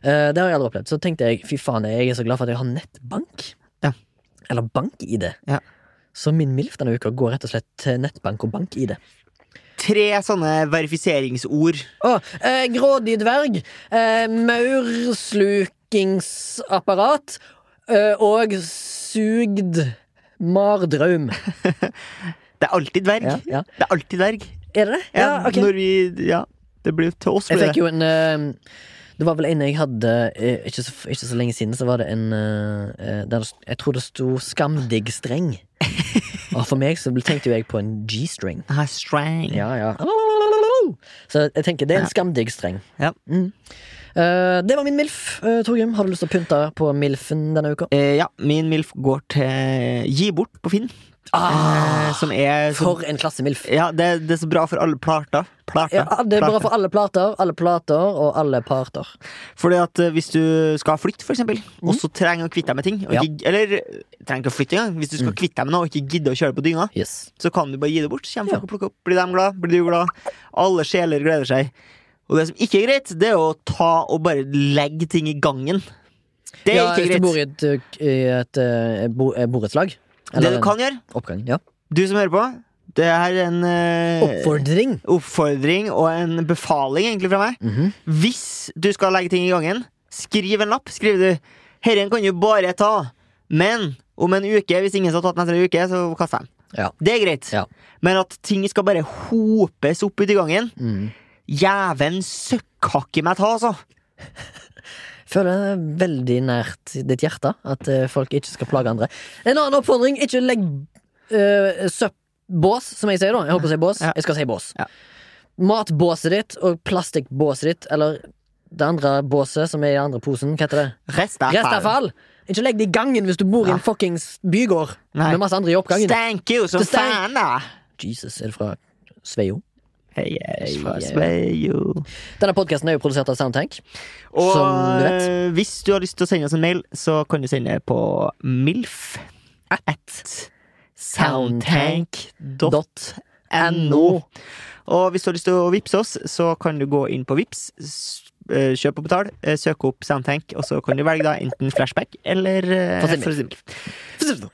Eh, det har jeg aldri opplevd. Så tenkte jeg fy faen, jeg er så glad for at jeg har nettbank.
Ja.
Eller bank-ID.
Ja.
Så min MILF denne uka går rett og slett til nettbank og bank-ID.
Tre sånne verifiseringsord.
Å, eh, grådig dverg, eh, maurslukingsapparat eh, og sugd mardraum.
Det er alltid dverg.
Ja, ja.
[LAUGHS] Det er alltid dverg.
Er det det? Ja, ok.
Når vi Ja, det blir til oss,
Jeg
blir
fikk
det.
jo en eh, Det var vel en jeg hadde eh, ikke så, ikke så lenge siden, så var det en eh, eh, der, det st- Jeg tror det sto [LAUGHS] 'skamdigg-streng'. Og for meg så ble- tenkte jo jeg på en G-string.
Her, strang.
Ja, ja. Så jeg tenker det er en skamdigg-streng.
Ja.
Mm. Eh, det var min MILF. Uh, Torgrim, har du lyst til å pynte på MILF-en denne uka?
Eh, ja, min MILF går til Gi bort på Finn.
Ah,
eh, som er så,
For en klasse-MILF.
Ja, det, det er så bra for alle plater. Plater.
Ja, det er bra
Plater.
for alle plater, alle plater og alle parter.
Fordi at eh, hvis du skal flytte, for eksempel, og så trenger å kvitte deg med ting og
Mm. Ja. Mm.
ikke, Eller eh, trenger ikke å flytte engang. Hvis du skal kvitte deg med noe og ikke gidder å kjøre det på dyna,
Yes.
så kan du bare gi det bort. Så kommer folk
Ja.
og plukker opp. Blir de glad? Blir du glad? Alle sjeler gleder seg. Og det som ikke er greit, det er å ta og bare legge ting i gangen. Det er
ja,
ikke
hvis du bor
greit.
i et, ø, i et ø, bo- eh, borettslag.
Det
eller
du
en
kan gjøre,
Oppgang, ja.
du som hører på, det er en eh,
Oppfordring.
oppfordring og en befaling egentlig fra meg.
Mhm.
Hvis du skal legge ting i gangen, skriv en lapp. Skriver du 'Herren kan du bare ta', men om en uke, hvis ingen har tatt den etter en uke, så kaster jeg den.
Ja.
Det er greit.
Ja.
Men at ting skal bare hopes opp uti gangen
Mm.
Jæven søkkakke meg ta, altså!
Føler det er veldig nært ditt hjerte at ø, folk ikke skal plage andre. En annen oppfordring, ikke legg ø, søpp... Bås, som jeg sier, da. Jeg holdt på å si bås.
Ja.
Jeg skal si bås.
Ja.
Matbåset ditt og plastikkbåset ditt, eller det andre båset som er i den andre posen, hva heter det? Restavfall! Ikke legg det i gangen hvis du bor i
Nei.
en fuckings bygård
Nei.
med masse andre i oppgangen.
Stank you som
Det stank.
faen, da!
Jesus, er det fra Sveio?
Hei, hei,
Hei, hei.
hei, jo.
Denne podkasten er jo produsert av Soundtank.
Og
Som du vet.
eh, hvis du har lyst til å sende oss en mail, så kan du sende på milf at soundtank.no. Og hvis du har lyst til å vippse oss, så kan du gå inn på Vips s- eh, Kjøp og betal, eh, søk opp Soundtank, og så kan du velge da enten flashback eller eh,
Forsimmel.
forsimmel.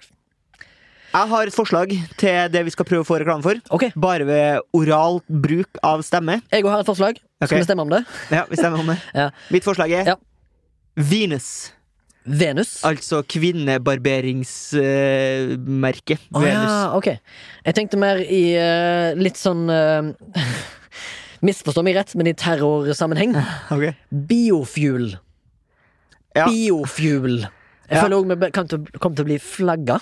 Jeg har et forslag til det vi skal prøve å få reklame for.
Ok,
Bare ved oral bruk av stemme.
jeg òg har et forslag. Skal
Ok.
vi stemme om det?
Ja, vi stemmer om det.
Ja.
Mitt forslag er
Ja.
Venus.
Venus.
Altså kvinnebarberingsmerket.
Å
Venus.
ja, ok. Jeg tenkte mer i eh, litt sånn eh, [LAUGHS] Misforstå meg rett, men i terrorsammenheng.
Ok.
Biofuel.
Ja.
Biofuel. Jeg
Ja.
føler òg vi be- kan til å- kommer til å bli flagga.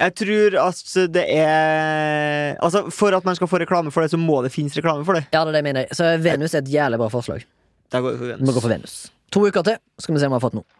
Jeg tror at det er Altså, for at man skal få reklame for det, så må det finnes reklame for det.
Ja, det er det jeg mener. Så Venus er et jævlig bra forslag.
Da går vi for
Vi
Venus.
går for Venus. To uker til, skal vi se om vi har fått noe.